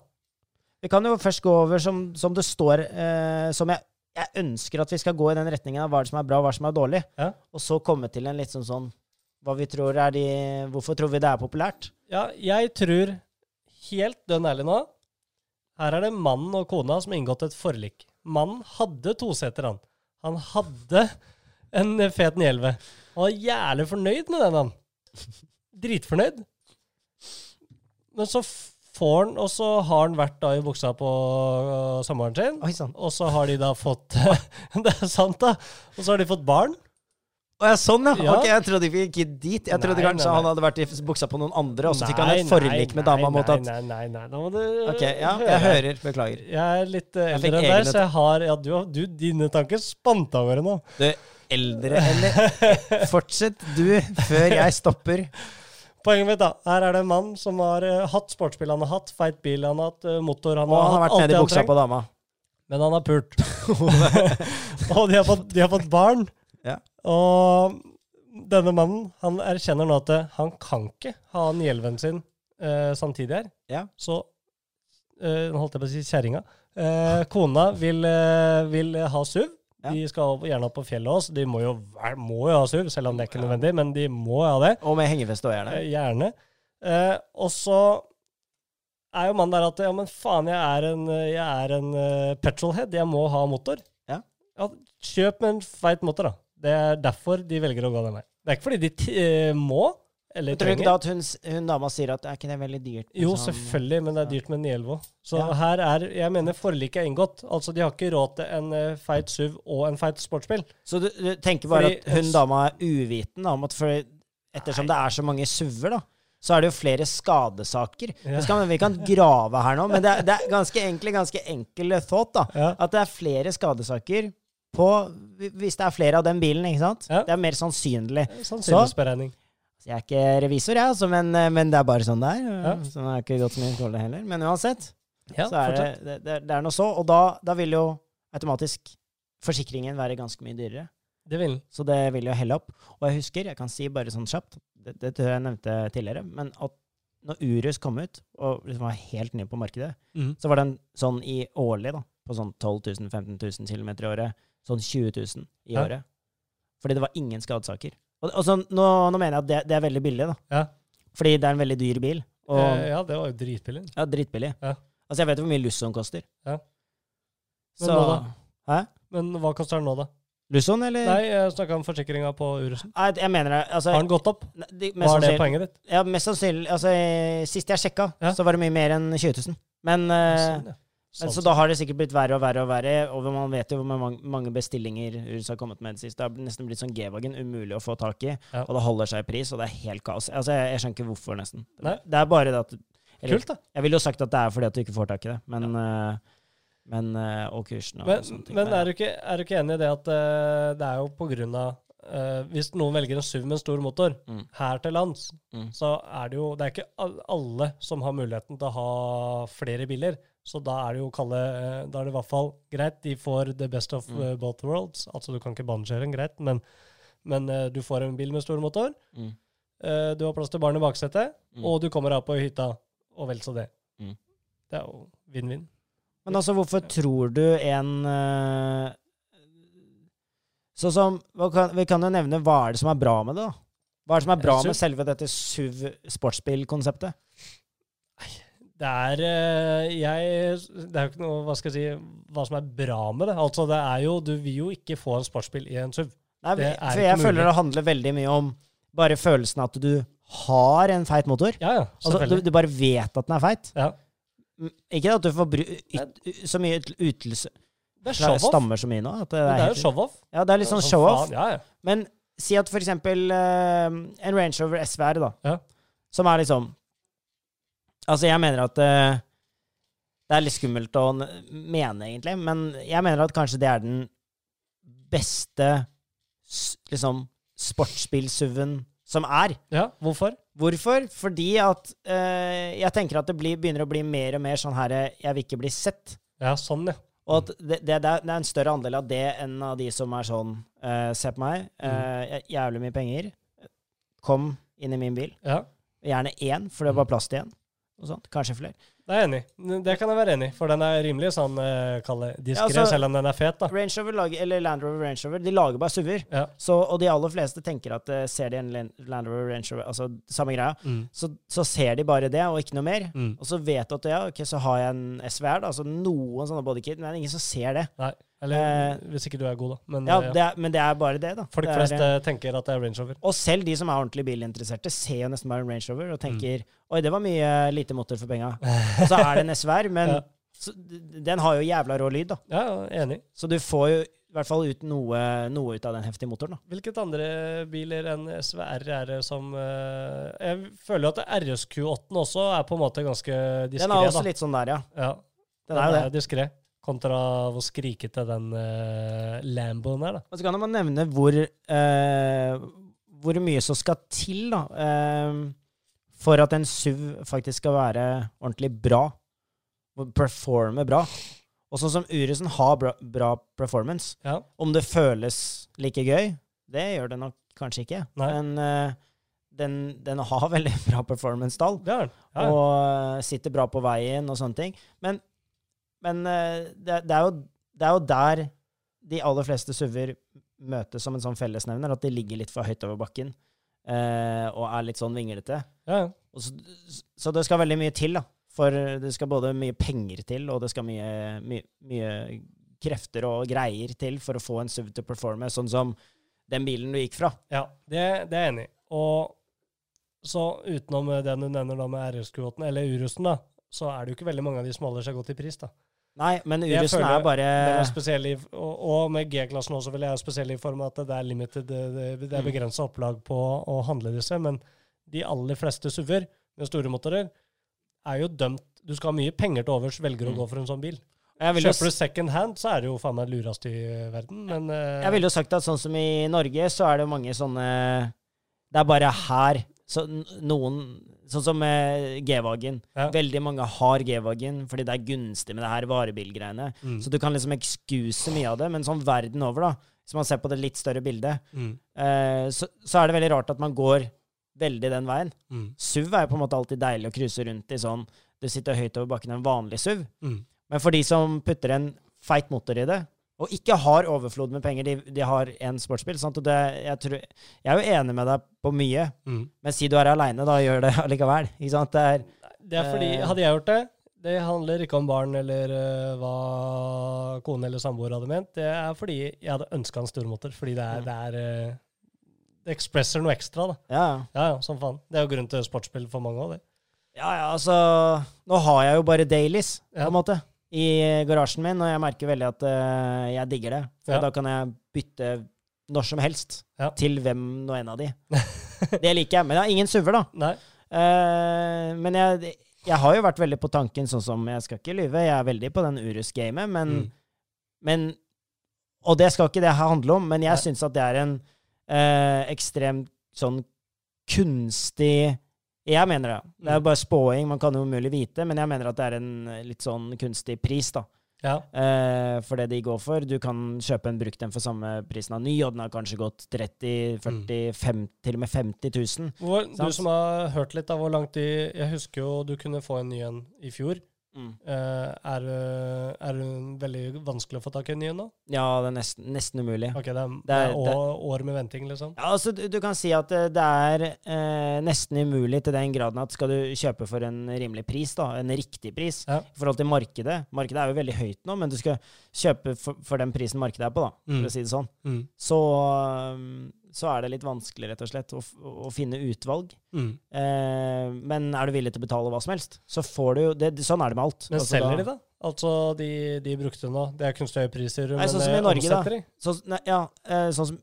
S2: vi kan jo først gå over som, som det står, eh, som jeg, jeg ønsker at vi skal gå i den retningen av hva er det som er bra, og hva er det som er dårlig,
S1: Ja.
S2: og så komme til en litt sånn sånn hva vi tror er de, Hvorfor tror vi det er populært?
S1: Ja, jeg tror, helt dønn ærlig nå, her er det mannen og kona som har inngått et forlik. Mannen hadde toseter, han. Han hadde en fet 911. Han var jævlig fornøyd med den, han. Dritfornøyd. Men så f- får han, og så har han vært da i buksa på øh, samboeren sin.
S2: Oi sånn. sann.
S1: Og så har de da fått Det er sant, da. Og så har de fått barn.
S2: Å ja, sånn ja.
S1: Ja.
S2: Ok, jeg trodde vi gikk dit. Jeg trodde
S1: Nei,
S2: kanskje
S1: nei, nei.
S2: han hadde vært i buksa på noen andre, og så fikk han
S1: Nei,
S2: et forlik
S1: nei,
S2: med dama
S1: nei,
S2: mot at
S1: Nei, nei, nei. nei. Nå må du
S2: Ok, ja,
S1: høre.
S2: jeg hører. Beklager.
S1: Jeg er litt eh,
S2: Jeg fikk
S1: eldre enn deg,
S2: egne
S1: så jeg har Ja, du, har- du dine tanker spant av gårde nå.
S2: Du, eldre eller Fortsett du, før jeg stopper.
S1: Poenget mitt, da. Her er det en mann som har eh, hatt sportsbil, han har hatt feit bil, han har hatt eh, motor, han
S2: Og han
S1: hatt
S2: har vært
S1: alt
S2: nede
S1: det
S2: i
S1: han
S2: buksa
S1: trenger,
S2: på dama.
S1: Men han har pult. og de har fått, de har fått barn.
S2: Ja.
S1: Og denne mannen, han erkjenner nå at eh, han kan ikke ha 911-en sin eh, samtidig her.
S2: Ja.
S1: Så eh, Nå holdt jeg på å si kjerringa. Eh, kona vil, eh, vil eh, ha SUV.
S2: Ja.
S1: De skal opp- gjerne opp på fjellet også. De må jo, væ- må jo ha SUV, selv om det er ikke nødvendig, men de må ha det.
S2: Og med hengefeste og gjerne.
S1: Eh, gjerne. Eh, og så er jo mannen der at ja, men faen, jeg er en, eh, jeg er en eh, petrolhead. Jeg må ha motor.
S2: Ja.
S1: kjøp med en feit motor, da. Det er derfor de velger å gå den veien. Det er ikke fordi de t eh, må eller
S2: Tror du ikke
S1: trenger.
S2: da at hun, s- hun dama sier at er ikke det veldig dyrt?
S1: Jo,
S2: Sånn-
S1: selvfølgelig, men det er dyrt med 911 òg. Så
S2: Ja.
S1: her er Jeg mener forliket er inngått. Altså, de har ikke råd til en eh, feit SUV og en feit sportsbil.
S2: Så du, du tenker bare
S1: Fordi-
S2: at hun dama er uviten da, om at for, ettersom det er så mange suver, da, så er det jo flere skadesaker. Det Skal, vi kan grave her nå, men det er, det er ganske enkle, ganske enkel thought. da,
S1: Ja.
S2: At det er flere skadesaker på, hvis det er flere av den bilen. ikke sant?
S1: Ja.
S2: Det er mer sannsynlig.
S1: Eh, sånn
S2: Altså,
S1: Sannsynlighetsberegning.
S2: Jeg er ikke revisor, jeg, altså, men, men det er bare sånn det er. Så det er ikke godt så mye kontroll heller. Men uansett,
S1: Ja,
S2: så er det,
S1: fortsett.
S2: det, det, det er noe så. Og da, da vil jo automatisk forsikringen være ganske mye dyrere.
S1: Det vil den.
S2: Så det vil jo helle opp. Og jeg husker, jeg kan si bare sånn kjapt, det, det tror jeg jeg nevnte tidligere, men at når Urus kom ut, og liksom var helt ny på markedet, så var den sånn i årlig, da, på sånn 12 000-15 000 km i året, sånn 20 000 i
S1: Ja.
S2: året. Fordi det var ingen skadesaker. Og, og sånn, nå, nå mener jeg at det, det er veldig billig, da.
S1: Ja.
S2: Fordi det er en veldig dyr bil. Og,
S1: Eh, ja, det var jo dritbillig.
S2: ja, dritbillig.
S1: Ja.
S2: Altså, jeg vet jo hvor mye Lusson koster.
S1: Ja. Men
S2: Så
S1: nå
S2: Hæ?
S1: Men hva koster den nå, da?
S2: Lusson, eller?
S1: Nei, jeg snakka om forsikringa på Uresen.
S2: Eh, Nei, jeg mener det. Altså,
S1: Har den gått opp?
S2: ne- de- mest
S1: Var det
S2: sannsynlig-
S1: poenget ditt?
S2: Ja, mest sannsynlig altså, eh, Sist jeg sjekka,
S1: Ja.
S2: så var det mye mer enn 20 000. Men, eh,
S1: Sånn, ja.
S2: men så
S1: Sånn.
S2: da har det sikkert blitt verre og verre og verre. Og man vet jo hvor mang- mange bestillinger Urus har kommet med det siste. Det har nesten blitt sånn G-vagen, umulig å få tak i.
S1: Ja.
S2: Og det holder seg i pris, og det er helt kaos. Altså, jeg, jeg skjønner ikke hvorfor, nesten.
S1: Nei.
S2: Det er bare det at eller,
S1: Kult, da.
S2: Jeg ville jo sagt at det er fordi at du ikke får tak i det, men, eh, men eh, Og kursen og
S1: Men,
S2: sånne ting.
S1: men
S2: der,
S1: er, du ikke, er du ikke enig i det at eh, det er jo på grunn av eh, hvis noen velger en SUV med en stor motor
S2: Mm.
S1: her til lands,
S2: Mm.
S1: så er det jo Det er ikke al- alle som har muligheten til å ha flere biler. Så da er det jo å kalle eh, Da er det i hvert fall greit. De får the best of
S2: Mm.
S1: eh, both worlds. Altså, du kan ikke banekjøre en, greit, men, men eh, du får en bil med stor motor.
S2: Mm.
S1: eh, du har plass til barn i baksetet,
S2: Mm.
S1: og du kommer deg opp på hytta, og vel så det.
S2: Mm.
S1: Det er jo vinn-vinn.
S2: Men altså, hvorfor tror du en eh, Sånn som hva kan- Vi kan jo nevne hva er det som er bra med det, da? Hva er det som er bra
S1: Eh,
S2: med
S1: SUV?
S2: selve dette SUV-sportsbilkonseptet?
S1: Det er eh, jeg Det er jo ikke noe Hva skal jeg si Hva som er bra med det. Altså, det er jo Du vil jo ikke få en sportsbil i en SUV.
S2: Nei,
S1: Det er
S2: for
S1: ikke
S2: jeg
S1: mulig.
S2: føler det handler veldig mye om bare følelsen av at du har en feit motor.
S1: Ja, ja.
S2: Altså, du,
S1: Selvfølgelig.
S2: du bare vet at den er feit.
S1: ja.
S2: Mm, Ikke at du får bru yt, så mye yt- ytelse
S1: Det er
S2: Jeg
S1: show-off.
S2: stammer så mye nå. At det,
S1: Men Det
S2: er
S1: er jo
S2: helt-
S1: show-off.
S2: Ja, det er litt sånn
S1: Som
S2: show-off.
S1: faen, Ja, ja.
S2: Men si at for eksempel eh, en Range Rover SVR, da,
S1: Ja.
S2: som er liksom Altså, jeg mener at eh, Det er litt skummelt å n- mene, egentlig, men jeg mener at kanskje det er den beste s- liksom sportsbil-SUV-en som er.
S1: ja. Hvorfor?
S2: Hvorfor? Fordi at eh, jeg tenker at det blir, begynner å bli mer og mer sånn her eh, Jeg vil ikke bli sett.
S1: Ja, sånn, ja.
S2: Og at det, det, det er det er en større andel av det enn av de som er sånn eh, Se på meg, eh, jæ- jævlig mye penger. Kom inn i min bil.
S1: ja.
S2: Gjerne én, for det var plass til én. Og sånt. Kanskje flere.
S1: Det er jeg enig i. Det kan jeg være enig i, for den er rimelig sånn eh, kalle diskré,
S2: Ja, altså-
S1: selv om den er fet, da.
S2: Range Rover lager, eller Land Rover Range Rover de lager bare SUV-er.
S1: Ja.
S2: Så- Og de aller fleste tenker at eh, ser de en Land Land Rover Range Rover, altså samme greia,
S1: Mm.
S2: så, så ser de bare det, og ikke noe mer.
S1: Mm.
S2: Og så vet du at ja, ok, så har jeg en SVR, da, altså noen sånne bodykit, men det er ingen som ser det.
S1: Nei. Eller hvis ikke du er god, da. Men
S2: Eh, Ja,
S1: eh, ja.
S2: det er, men det er bare det, da.
S1: folk
S2: det er,
S1: flest eh, tenker at det er Range Rover.
S2: Og selv de som er ordentlig bilinteresserte, ser jo nesten bare en Range Rover og tenker
S1: Mm.
S2: Oi, det var mye lite motor for penga. Og så er det en SVR, men
S1: Ja.
S2: så, d- den har jo jævla rå lyd, da.
S1: Ja, ja, enig.
S2: Så du får jo i hvert fall ut noe, noe ut av den heftige motoren, da.
S1: Hvilket andre biler enn SVR er det som eh, Jeg føler jo at RSQ8 også er på en måte ganske
S2: Den
S1: diskré,
S2: er
S1: da.
S2: også litt sånn der, ja.
S1: Ja,
S2: Den er jo det.
S1: diskré. Kontra hvor skrikete den eh, Lamboen er, da.
S2: Og så kan man nevne hvor, eh, hvor mye som skal til da, eh, for at en SUV faktisk skal være ordentlig bra, og performe bra. Og sånn som Uresen har bra, bra performance.
S1: Ja.
S2: Om det føles like gøy, det gjør det nok kanskje ikke.
S1: Nei.
S2: Men eh, den, den har veldig bra performance-tall
S1: Det er den. Ja, ja.
S2: og eh, sitter bra på veien og sånne ting. Men, men eh, det, det, er jo, det er jo der de aller fleste SUV-er møtes som en sånn fellesnevner, at de ligger litt for høyt over bakken eh, og er litt sånn vinglete.
S1: ja, ja.
S2: Og så, så det skal veldig mye til, da. For eh, det skal både mye penger til, og det skal mye, mye, mye krefter og greier til for å få en SUV til å performe, sånn som den bilen du gikk fra.
S1: Ja, det, det er jeg enig i. Og så utenom eh, den du nevner da med RSQ-båten, eller Urusen, da, så er det jo ikke veldig mange av de som holder seg godt i pris, da.
S2: Nei, men
S1: Jeg
S2: Urusen
S1: føler
S2: er bare
S1: Den er spesiell i, og, og med G-klassen også vil jeg være spesiell i form av at det er limited, det, det er
S2: Mm.
S1: begrensa opplag på å handle disse, men de aller fleste SUV-er med store motorer er jo dømt Du skal ha mye penger til overs, velger å
S2: Mm.
S1: gå for en sånn bil.
S2: Jeg vil jo
S1: Kjøper du second hand, så er det jo faen meg lurast i verden, men eh,
S2: Jeg ville jo sagt at sånn som i Norge, så er det mange sånne Det er bare her så n- noen Sånn som eh, G-Wagen.
S1: Ja.
S2: Veldig mange har G-Wagen fordi det er gunstig med det her varebilgreiene.
S1: Mm.
S2: Så du kan liksom excuse mye av det, men sånn verden over, da, hvis man ser på det litt større bildet,
S1: mm,
S2: eh, så, så er det veldig rart at man går veldig den veien.
S1: mm,
S2: SUV er jo på en måte alltid deilig å cruise rundt i sånn Du sitter høyt over bakken i en vanlig SUV.
S1: mm.
S2: Men for de som putter en feit motor i det, og ikke har overflod med penger, de, de har en sportsbil. Sant? Og det, jeg, tror, jeg er jo enig med deg på mye,
S1: mm.
S2: men si du er aleine, da gjør det allikevel. Ikke sant? Det er,
S1: Det er fordi
S2: Eh.
S1: Hadde jeg gjort det Det handler ikke om barn eller eh, hva kone eller samboer hadde ment. Det er fordi jeg hadde ønska en stormotor. Fordi det er,
S2: Mm.
S1: det er eh, Det ekspresser noe ekstra, da.
S2: ja,
S1: Ja ja, som faen. Det er jo grunn til sportsspill for mange òg, det.
S2: ja, ja, altså Nå har jeg jo bare dailies, på
S1: Ja.
S2: en måte, i garasjen min, og jeg merker veldig at eh, jeg digger det. For
S1: Ja.
S2: da kan jeg bytte når som helst
S1: Ja.
S2: til hvem nå enn av de. det liker jeg. Men jeg har ingen suver, da.
S1: Nei.
S2: Eh, men jeg, jeg har jo vært veldig på tanken, sånn som jeg skal ikke lyve, jeg er veldig på den Urus-gamet, men,
S1: Mm.
S2: men Og det skal ikke det her handle om, men
S1: Nei.
S2: jeg syns at det er en eh, ekstremt sånn kunstig Jeg mener det. Det
S1: Mm.
S2: er jo bare spåing, man kan jo umulig vite, men jeg mener at det er en litt sånn kunstig pris, da.
S1: Ja.
S2: Eh, for det de går for. Du kan kjøpe en brukt en for samme prisen av ny, og den har kanskje gått 30
S1: Mm.
S2: 40 50, til og med 50 000.
S1: Hvor, du
S2: Sant.
S1: som har hørt litt av hvor langt de Jeg husker jo du kunne få en ny en i fjor. Eh, er, eh, er hun veldig vanskelig å få tak i en ny en nå?
S2: Ja, det er nesten, nesten umulig.
S1: Ok, det er, det
S2: er-
S1: er år, år med venting, liksom.
S2: Ja, altså, du, du kan si at eh, det er eh, nesten umulig til den graden at skal du kjøpe for en rimelig pris, da, en riktig pris,
S1: Ja.
S2: i forhold til markedet Markedet er jo veldig høyt nå, men du skal kjøpe for, for den prisen markedet er på, da,
S1: Mm.
S2: for å si det sånn.
S1: Mm.
S2: Så, um, så er det litt vanskelig, rett og slett, å, f- å finne utvalg.
S1: Mm.
S2: Eh, men er du villig til å betale hva som helst, så får du jo det, det- Sånn er det med alt.
S1: Men
S2: Altså,
S1: selger
S2: da-
S1: de, da? Altså de, de brukte nå? Det er kunstig høye priser,
S2: Nei,
S1: men
S2: sånn som
S1: eh,
S2: i Norge, da.
S1: omsetter de?
S2: Sånn- nei, ja, eh, sånn som,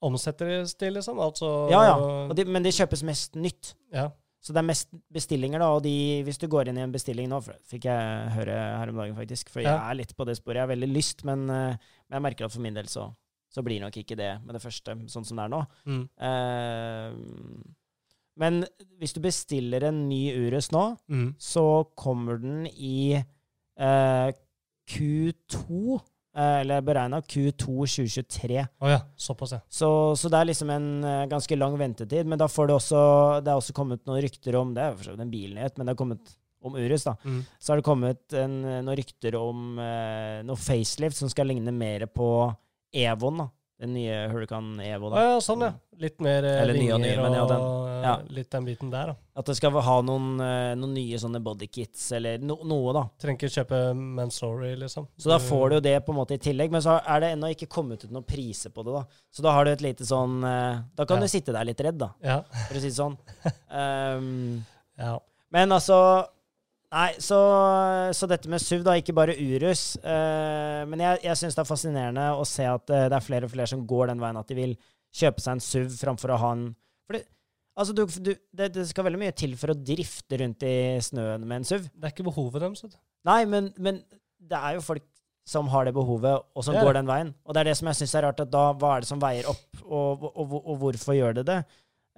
S1: Omsetter de til, liksom? Altså
S2: ja, ja. Og de, men de kjøpes mest nytt.
S1: ja.
S2: Så det er mest bestillinger, da. Og de, hvis du går inn i en bestilling nå, for det fikk jeg høre her om dagen, faktisk, for jeg
S1: Ja.
S2: er litt på det sporet. Jeg har veldig lyst, men, eh, men jeg merker at for min del så, så blir nok ikke det med det første, sånn som det er nå.
S1: Mm.
S2: Eh, men hvis du bestiller en ny Urus nå,
S1: Mm.
S2: så kommer den i eh, Q2, eh, eller beregna Q2 2023.
S1: Å ja. Såpass, ja.
S2: Så, så det er liksom en eh, ganske lang ventetid. Men da får det også Det er også kommet noen rykter om Det er jo for så vidt en bilnyhet, men det har kommet om Urus, da.
S1: Mm.
S2: Så har det kommet en, noen rykter om eh, noe facelift som skal ligne mer på Evon, da. Den nye Hurricane Evo,
S1: Å
S2: da.
S1: ja, sånn, ja. Litt mer eh,
S2: Eller nye og nye,
S1: vinger
S2: men ja,
S1: og
S2: den-
S1: eh,
S2: ja.
S1: litt den biten der, da.
S2: At det skal ha noen, eh, noen nye sånne bodykits, eller no, noe, da.
S1: Trenger ikke kjøpe Mansory, liksom.
S2: Så da får du jo det på en måte i tillegg, men så er det ennå ikke kommet ut noen priser på det, da. Så da har du et lite sånn eh, Da kan
S1: Ja.
S2: du sitte der litt redd, da,
S1: Ja.
S2: for å si det sånn. Ehm,
S1: ja.
S2: men altså Nei, så, så dette med SUV, da, ikke bare Urus. eh, men jeg, jeg syns det er fascinerende å se at eh, det er flere og flere som går den veien at de vil kjøpe seg en SUV framfor å ha en For det, altså, du, du, det, det skal veldig mye til for å drifte rundt i snøen med en SUV.
S1: Det er ikke behovet deres, vet du.
S2: Nei, men, men det er jo folk som har det behovet, og som
S1: Det er
S2: går
S1: det.
S2: den veien. Og det er det som jeg syns er rart, at da hva er det som veier opp, og, og, og, og hvorfor gjør det det?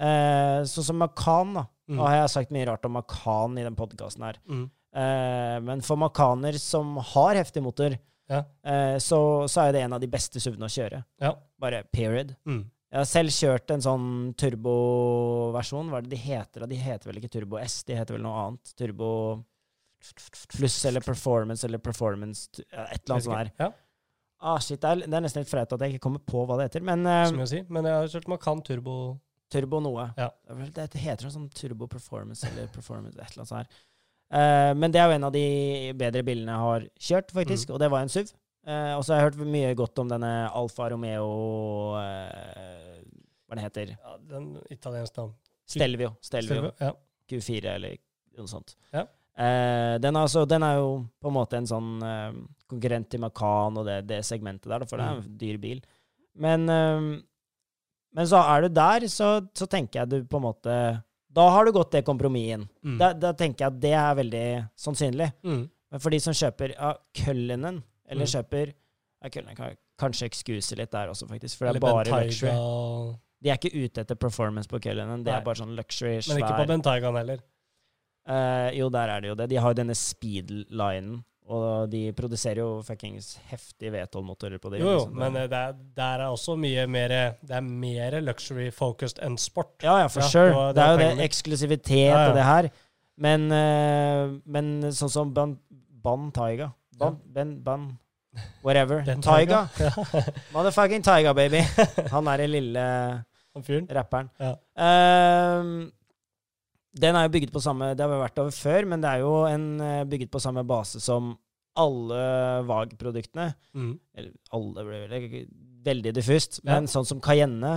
S2: Eh, sånn som Makan, da.
S1: Mm.
S2: Nå har jeg sagt mye rart om Makan i den podkasten her.
S1: Mm.
S2: Eh, men for Makaner som har heftig motor,
S1: Ja.
S2: eh, så, så er det en av de beste SUV-ene å kjøre.
S1: Ja.
S2: Bare period.
S1: Mm.
S2: Jeg har selv kjørt en sånn turboversjon. Hva er det de heter? da? De heter vel ikke Turbo S, de heter vel noe annet. Turbo pluss eller performance eller performance t- ja, Et eller annet sånt der.
S1: Ja,
S2: Ah, shit, det er, det er nesten litt flaut at jeg ikke kommer på hva det heter, men eh,
S1: som jeg sier. Men jeg har kjørt Macan Turbo.
S2: turbo noe.
S1: Ja.
S2: Det er vel- Det heter noe sånn turbo performance eller performance et eller annet sånt her. Eh, men det er jo en av de bedre bilene jeg har kjørt, faktisk, og det var en SUV. Eh, og så har jeg hørt mye godt om denne Alfa Romeo eh, Hva den heter
S1: Ja, den italienske navn.
S2: Stelvio. Stelvio.
S1: Ja.
S2: Q4 eller noe sånt.
S1: Ja.
S2: Eh, den, er altså, den er jo på en måte en sånn eh, konkurrent til Macan og det, det segmentet der, da, for det er
S1: Mm.
S2: en dyr bil. Men, eh, men så er du der, så, så tenker jeg du på en måte Da har du gått det kompromisset inn.
S1: Mm.
S2: Da, da tenker jeg at det er veldig sannsynlig.
S1: Mm.
S2: Men for de som kjøper ja, Køllenen, eller
S1: Mm.
S2: kjøper ja, Køllenen kan kanskje excuse litt der også, faktisk, for det
S1: Eller
S2: er bare
S1: Bentayga
S2: luxury.
S1: og-
S2: De er ikke ute etter performance på Køllenen, det
S1: Nei.
S2: er bare sånn luxury, svær
S1: Men ikke på Bentaygaen heller.
S2: Eh, jo, der er det jo det. De har jo denne speedlinen, og de produserer jo fuckings heftige V12-motorer på det.
S1: Jo, jo,
S2: liksom.
S1: men eh, det er, der er også mye mer Det er mer luxury-focused enn sport.
S2: Ja, ja, for
S1: Ja,
S2: sure.
S1: det var- det
S2: det er
S1: var
S2: jo
S1: poenget
S2: det
S1: mitt.
S2: eksklusivitet
S1: Ja, ja.
S2: og det her. Men, eh, men sånn som Ban, ban Taiga Ban, ben, ban Whatever.
S1: Den
S2: Taiga.
S1: Ja.
S2: Motherfucking Taiga, baby. Han er den lille
S1: Han fyren.
S2: rapperen.
S1: Ja.
S2: Ehm, den er jo bygget på samme Det har vi vært over før, men det er jo en eh, bygget på samme base som alle VAG-produktene.
S1: Mm.
S2: Eller alle ble vel veldig diffust.
S1: Ja.
S2: Men sånn som Cayenne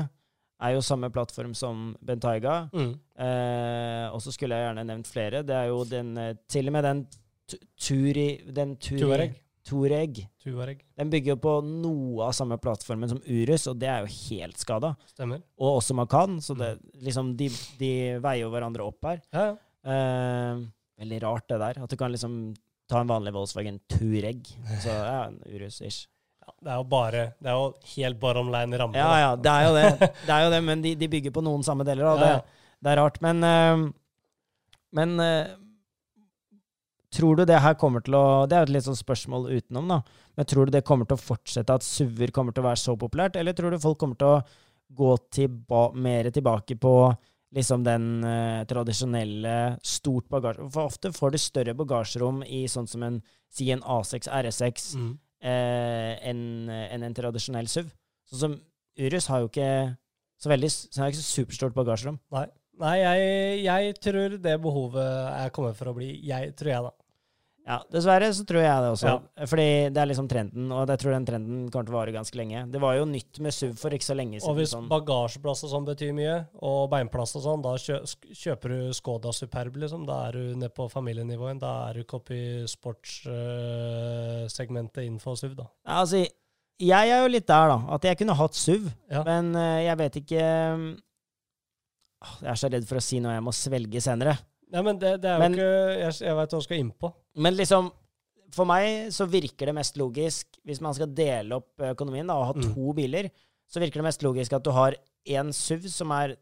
S2: er jo samme plattform som Bentayga.
S1: Mm.
S2: Eh, og så skulle jeg gjerne nevnt flere. Det er jo den eh, Til og med den tu- Turi... Den turi,
S1: Tuareg.
S2: Touareg.
S1: Tuareg.
S2: Den bygger jo på noe av samme plattformen som Urus, og det er jo helt skada
S1: Stemmer.
S2: og også Macan. Så det,
S1: Mm.
S2: liksom, de, de veier jo hverandre opp her.
S1: Ja, ja.
S2: Eh, veldig rart, det der. At du kan liksom ta en vanlig Volkswagen Tureg. Så ja, en Urus-ish.
S1: Ja, det er jo bare Det er jo helt bottomline ramme.
S2: Ja,
S1: da.
S2: ja, det er jo det. Det er jo det, men de, de bygger på noen samme deler, og
S1: Ja, ja.
S2: det, det er rart. Men, eh, men eh, tror du det her kommer til å Det er jo et litt sånn spørsmål utenom, da. Men tror du det kommer til å fortsette at SUV-er kommer til å være så populært, eller tror du folk kommer til å gå tilba mer tilbake på liksom den eh, tradisjonelle stort bagasje... For ofte får du større bagasjerom i sånn som en, si en A6 RS6
S1: Mm.
S2: eh, enn enn en tradisjonell SUV. Sånn som Urus har jo ikke så veldig så har ikke så superstort bagasjerom.
S1: Nei, jeg, jeg tror det behovet er kommet for å bli. Jeg tror jeg, da.
S2: Ja, Dessverre så tror jeg det også. Fordi det er liksom trenden, og jeg tror den trenden kommer til å vare ganske lenge. Det var jo nytt med SUV for ikke så
S1: Og
S2: lenge siden.
S1: hvis
S2: Sånn.
S1: bagasjeplass og sånn betyr mye, og beinplass og sånn, da kjø sk- kjøper du Skoda Superb, liksom. Da er du nede på familienivåen. Da er du ikke oppe i sportssegmentet innenfor SUV, da.
S2: Ja, altså, jeg er jo litt der, da. At jeg kunne hatt SUV,
S1: Ja.
S2: men eh, jeg vet ikke mm, Åh, Jeg er så redd for å si noe jeg må svelge senere.
S1: Nei, men det, det er jo
S2: Men-
S1: ikke Jeg, jeg veit hva du skal innpå.
S2: Men liksom, for meg så virker det mest logisk, hvis man skal dele opp økonomien da, og ha
S1: Mm.
S2: to biler, så virker det mest logisk at du har én SUV som er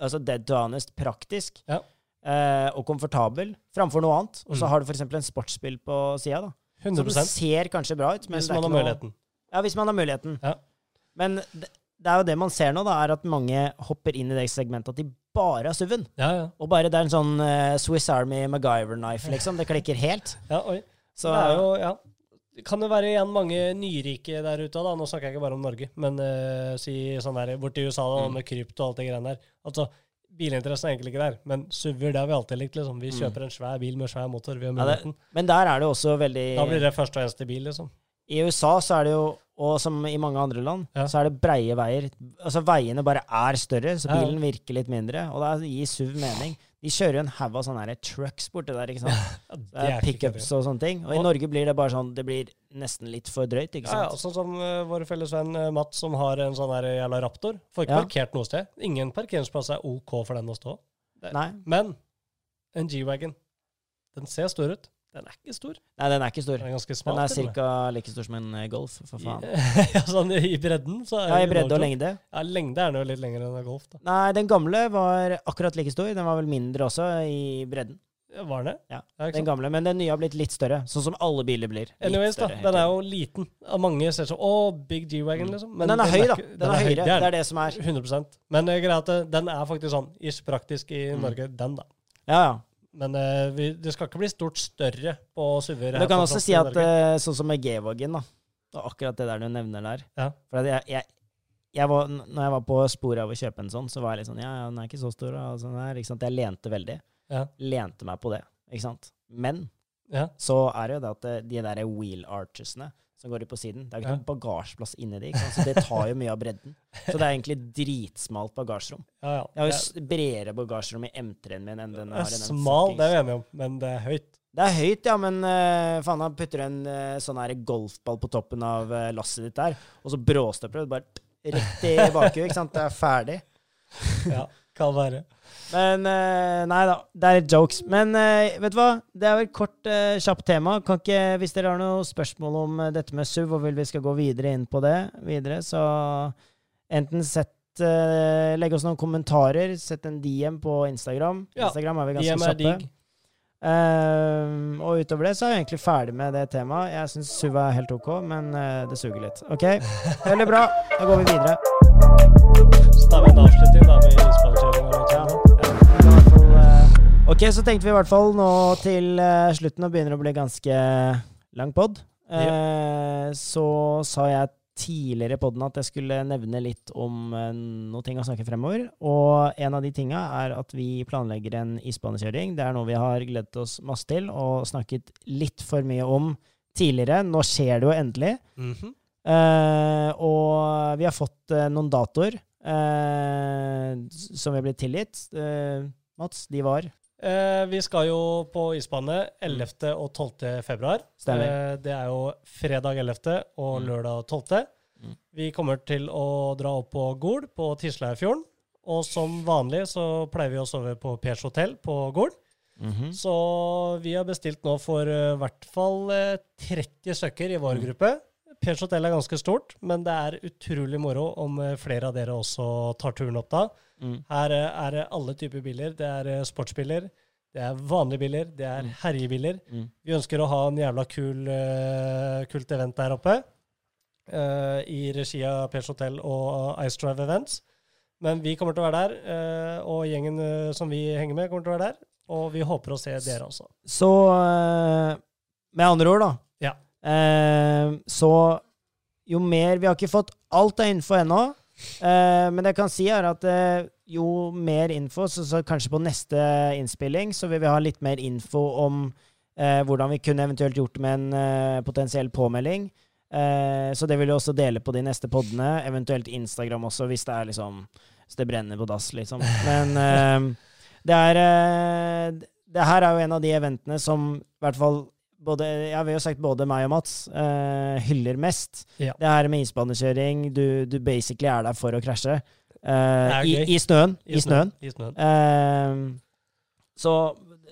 S2: altså dead to honest praktisk
S1: Ja.
S2: eh, og komfortabel, framfor noe annet. Og
S1: Mm.
S2: så har du for eksempel en sportsbil på sida, da. Som
S1: 100
S2: ser kanskje bra ut, men
S1: hvis
S2: det er
S1: man har
S2: ikke noe
S1: muligheten.
S2: ja, hvis man har muligheten.
S1: Ja.
S2: Men det, det er jo det man ser nå, da, er at mange hopper inn i det segmentet at de bare har SUV-en.
S1: Ja, ja.
S2: Og bare det er en sånn eh, Swiss Army MacGyver-knife, liksom. Det klikker helt.
S1: ja oi.
S2: Så
S1: det er jo, ja. Kan det være igjen mange nyrike der ute, da? Nå snakker jeg ikke bare om Norge, men eh, si sånn der borti USA da,
S2: Mm.
S1: med krypto og alt det greiene der. Altså, bilinteressen er egentlig ikke der, men SUV-er, det har vi alltid likt, liksom. Vi
S2: Mm.
S1: kjøper en svær bil med svær motor, vi har
S2: Ja, det-
S1: muligheten.
S2: Men der er det jo også veldig
S1: da blir det første og eneste bil, liksom.
S2: I USA så er det jo, og som i mange andre land,
S1: Ja.
S2: så er det breie veier. Altså veiene bare er større, så
S1: Ja, ja.
S2: bilen virker litt mindre. Og det gir SUV mening. De kjører jo en haug av sånne her trucks borti der, ikke sant.
S1: Ja, det
S2: Det er
S1: ikke
S2: Pickups
S1: kødd.
S2: og sånne ting. Og i
S1: Og-
S2: Norge blir det bare sånn Det blir nesten litt for drøyt, ikke
S1: Ja, ja,
S2: sant.
S1: sånn som eh, vår felles venn eh, Matt, som har en sånn der jævla Raptor. Får ikke
S2: Ja.
S1: parkert noe sted. Ingen parkeringsplass er OK for den å stå. ja.
S2: Nei,
S1: Men en G-Wagon, den ser stor ut. Den er ikke stor.
S2: nei, den er ikke stor.
S1: Den er ganske smal.
S2: Den er
S1: til og med.
S2: ca. like stor som en eh, Golf, for faen.
S1: ja, sånn i bredden. Så er
S2: Ja, i
S1: det
S2: bredde
S1: no
S2: og
S1: joke.
S2: lengde.
S1: Ja, lengde er den jo litt lengre enn en golf, da.
S2: Nei, den gamle var akkurat like stor. Den var vel mindre også i bredden.
S1: Ja, Var den det?
S2: Ja,
S1: ikke
S2: Den
S1: sant?
S2: gamle, men den nye har blitt litt større, sånn som alle biler blir. Litt
S1: Anyways, da.
S2: større hele
S1: Den
S2: tiden.
S1: er jo liten. Ja, Mange ser sånn Å, big G-wagon, liksom.
S2: Men den er høy, da.
S1: ikke-
S2: Den er høyere. Det
S1: Det er
S2: er det som er.
S1: den. 100 Men eh, greia er at eh, den er faktisk sånn ish praktisk i
S2: Mm.
S1: Norge, den, da.
S2: Ja, ja.
S1: Men eh, vi, det skal ikke bli stort større på SUV-er. her
S2: Men du kan
S1: på
S2: også
S1: fronten
S2: si
S1: i
S2: at
S1: Norge.
S2: eh, sånn som med G-Wagen, da. Det er akkurat det der du nevner der.
S1: Ja.
S2: For at jeg, jeg, jeg var, n- når jeg var på sporet av å kjøpe en sånn, så var jeg litt sånn Ja, ja, den er ikke så stor. da, Og sånn her, ikke sant? Jeg lente veldig.
S1: Ja.
S2: Lente meg på det. Ikke sant? Men
S1: Ja.
S2: så er det jo det at eh, de der wheel archesene som går ut på siden Det er jo
S1: Ja.
S2: ikke noen bagasjeplass inni de, ikke sant? så det tar jo mye av bredden. Så det er egentlig dritsmalt bagasjerom.
S1: ja, ja.
S2: Jeg har jo
S1: Det
S2: s- bredere bagasjerom i M3-en min enn den
S1: er-
S2: jeg har
S1: det
S2: i
S1: er
S2: den
S1: smal,
S2: fuckings-
S1: det er vi enige om, men det er høyt.
S2: Det er høyt, ja, men eh, faen, han putter en eh, sånn her golfball på toppen av eh, lasset ditt der, og så bråstøper du, bare pff, rett i bakhjulet, ikke sant? Det er ferdig.
S1: Ja, kan være.
S2: Men eh, Nei da, det er litt jokes. Men eh, vet du hva? Det er jo et kort, eh, kjapt tema. Kan ikke, hvis dere har noen spørsmål om eh, dette med SUV, og vil vi skal gå videre inn på det, videre, så enten sett eh, Legg oss noen kommentarer. Sett en DM på Instagram.
S1: Ja,
S2: Instagram er vi
S1: DM
S2: ganske
S1: er
S2: kjappe.
S1: digg.
S2: Ehm, og utover det så er jeg egentlig ferdig med det temaet. Jeg syns SUV er helt OK, men eh, det suger litt. OK? Veldig bra. Da går vi videre.
S1: Så da er vi en avslutning da med innspillkjøringen.
S2: Ja.
S1: Ja.
S2: Ja, det var i hvert fall, eh, OK, så tenkte vi i hvert fall nå til eh, slutten og begynner å bli ganske lang pod. Eh, Så sa jeg tidligere i poden at jeg skulle nevne litt om eh, noen ting å snakke fremover. Og en av de tinga er at vi planlegger en isbanekjøring. Det er noe vi har gledet oss masse til og snakket litt for mye om tidligere. Nå skjer det jo endelig.
S1: Mhm.
S2: Eh, og vi har fått eh, noen datoer eh, s- som vi ble tilgitt. Eh, Mats, de var
S1: Eh, vi skal jo på isbane 11. og 12. februar.
S2: Stemmer.
S1: Eh, det er jo fredag 11. og
S2: Mm.
S1: lørdag 12.
S2: Mm.
S1: Vi kommer til å dra opp på Gol på Tisleifjorden. Og som vanlig så pleier vi å sove på Pers hotell på Gol.
S2: Mhm, Mm.
S1: Så vi har bestilt nå for eh, hvert fall eh, 30 stykker i vår
S2: Mm.
S1: gruppe Peugeot Hotel er ganske stort, men det er utrolig moro om eh, flere av dere også tar turen opp da.
S2: Mm.
S1: Her eh, er det alle typer biler. Det er eh, sportsbiler, det er vanlige biler, det er herjebiler.
S2: Mm.
S1: Vi ønsker å ha en jævla kul, eh, kult event der oppe eh, i regi av Peugeot Hotel og eh, Ice Drive Events. Men vi kommer til å være der, eh, og gjengen eh, som vi henger med, kommer til å være der. Og vi håper å se dere også.
S2: Så eh, med andre ord, da.
S1: Ja.
S2: Eh, så jo mer Vi har ikke fått alt av info ennå, eh, men det jeg kan si, er at eh, jo mer info, så, så kanskje på neste innspilling, så vil vi ha litt mer info om eh, hvordan vi kunne eventuelt gjort det med en eh, potensiell påmelding. Eh, så det vil vi også dele på de neste poddene, eventuelt Instagram også, hvis det er liksom Hvis det brenner på dass, liksom. Men eh, det er eh, Det her er jo en av de eventene som i hvert fall både, jeg vil jo sagt både meg og Mats eh, hyller mest.
S1: Ja.
S2: Det her med isbanekjøring, du, du basically er der for å krasje. eh,
S1: Det er
S2: i,
S1: gøy.
S2: I snøen. I snøen.
S1: I snøen.
S2: Ehm, så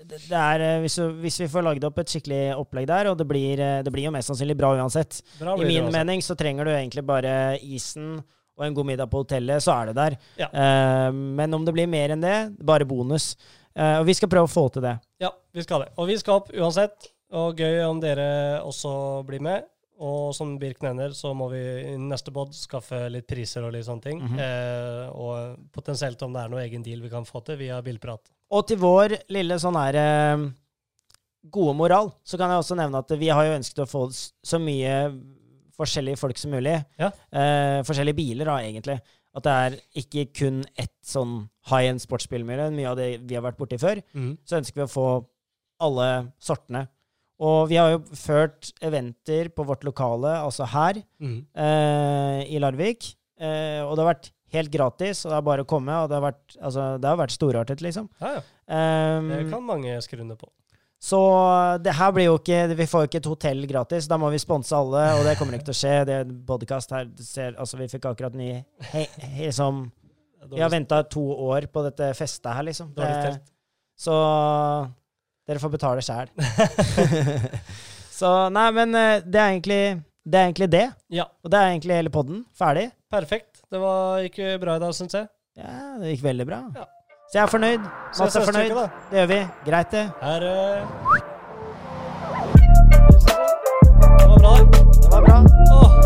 S2: det det er eh, hvis, du- hvis vi får lagd opp et skikkelig opplegg der, og det blir, eh, det blir jo mest sannsynlig bra uansett
S1: Bra
S2: I
S1: blir det
S2: min
S1: uansett.
S2: mening så trenger du egentlig bare isen og en god middag på hotellet, så er det der.
S1: Ja.
S2: Ehm, men om det blir mer enn det, bare bonus. Eh, og vi skal prøve å få til det.
S1: Ja, vi skal det. Og vi skal opp uansett. Og gøy om dere også blir med. Og som Birk nevner, så må vi i neste pod skaffe litt priser og litt sånne ting.
S2: Mhm.
S1: eh, og potensielt om det er noe egen deal vi kan få til via bilprat.
S2: Og til vår lille sånn her eh, gode moral, så kan jeg også nevne at vi har jo ønsket å få s- så mye forskjellige folk som mulig.
S1: Ja.
S2: Eh, forskjellige biler, da, egentlig. At det er ikke kun ett sånn high-end sportsbilmiljø. Mye av det vi har vært borti før. Så ønsker vi å få alle sortene. Og vi har jo ført eventer på vårt lokale, altså her
S1: Mhm.
S2: eh, i Larvik. Eh, og det har vært helt gratis, og det er bare å komme. Og det har vært, altså, det har vært storartet, liksom.
S1: Ja, ja.
S2: Um,
S1: Det kan mange skru under på.
S2: så det her blir jo ikke Vi får jo ikke et hotell gratis. Da må vi sponse alle, og det kommer ikke til å skje. Det er en podcast her du ser, altså Vi fikk akkurat ny he, he, som, Vi har
S1: Dårlig-
S2: venta to år på dette festet her, liksom. Det,
S1: Dårlig stelt.
S2: så dere får betale sjæl. så nei, men eh, det er egentlig det. Er egentlig det.
S1: Ja,
S2: Og det er egentlig hele poden. Ferdig.
S1: perfekt. Det var ikke bra i dag, syns jeg.
S2: Ja, det gikk veldig bra.
S1: Ja.
S2: Så jeg er fornøyd.
S1: Ses
S2: Mats er
S1: neste
S2: fornøyd.
S1: uke, da.
S2: Det gjør vi. Greit, det.
S1: Her eh, Det var bra, det.
S2: Det var bra.
S1: Åh.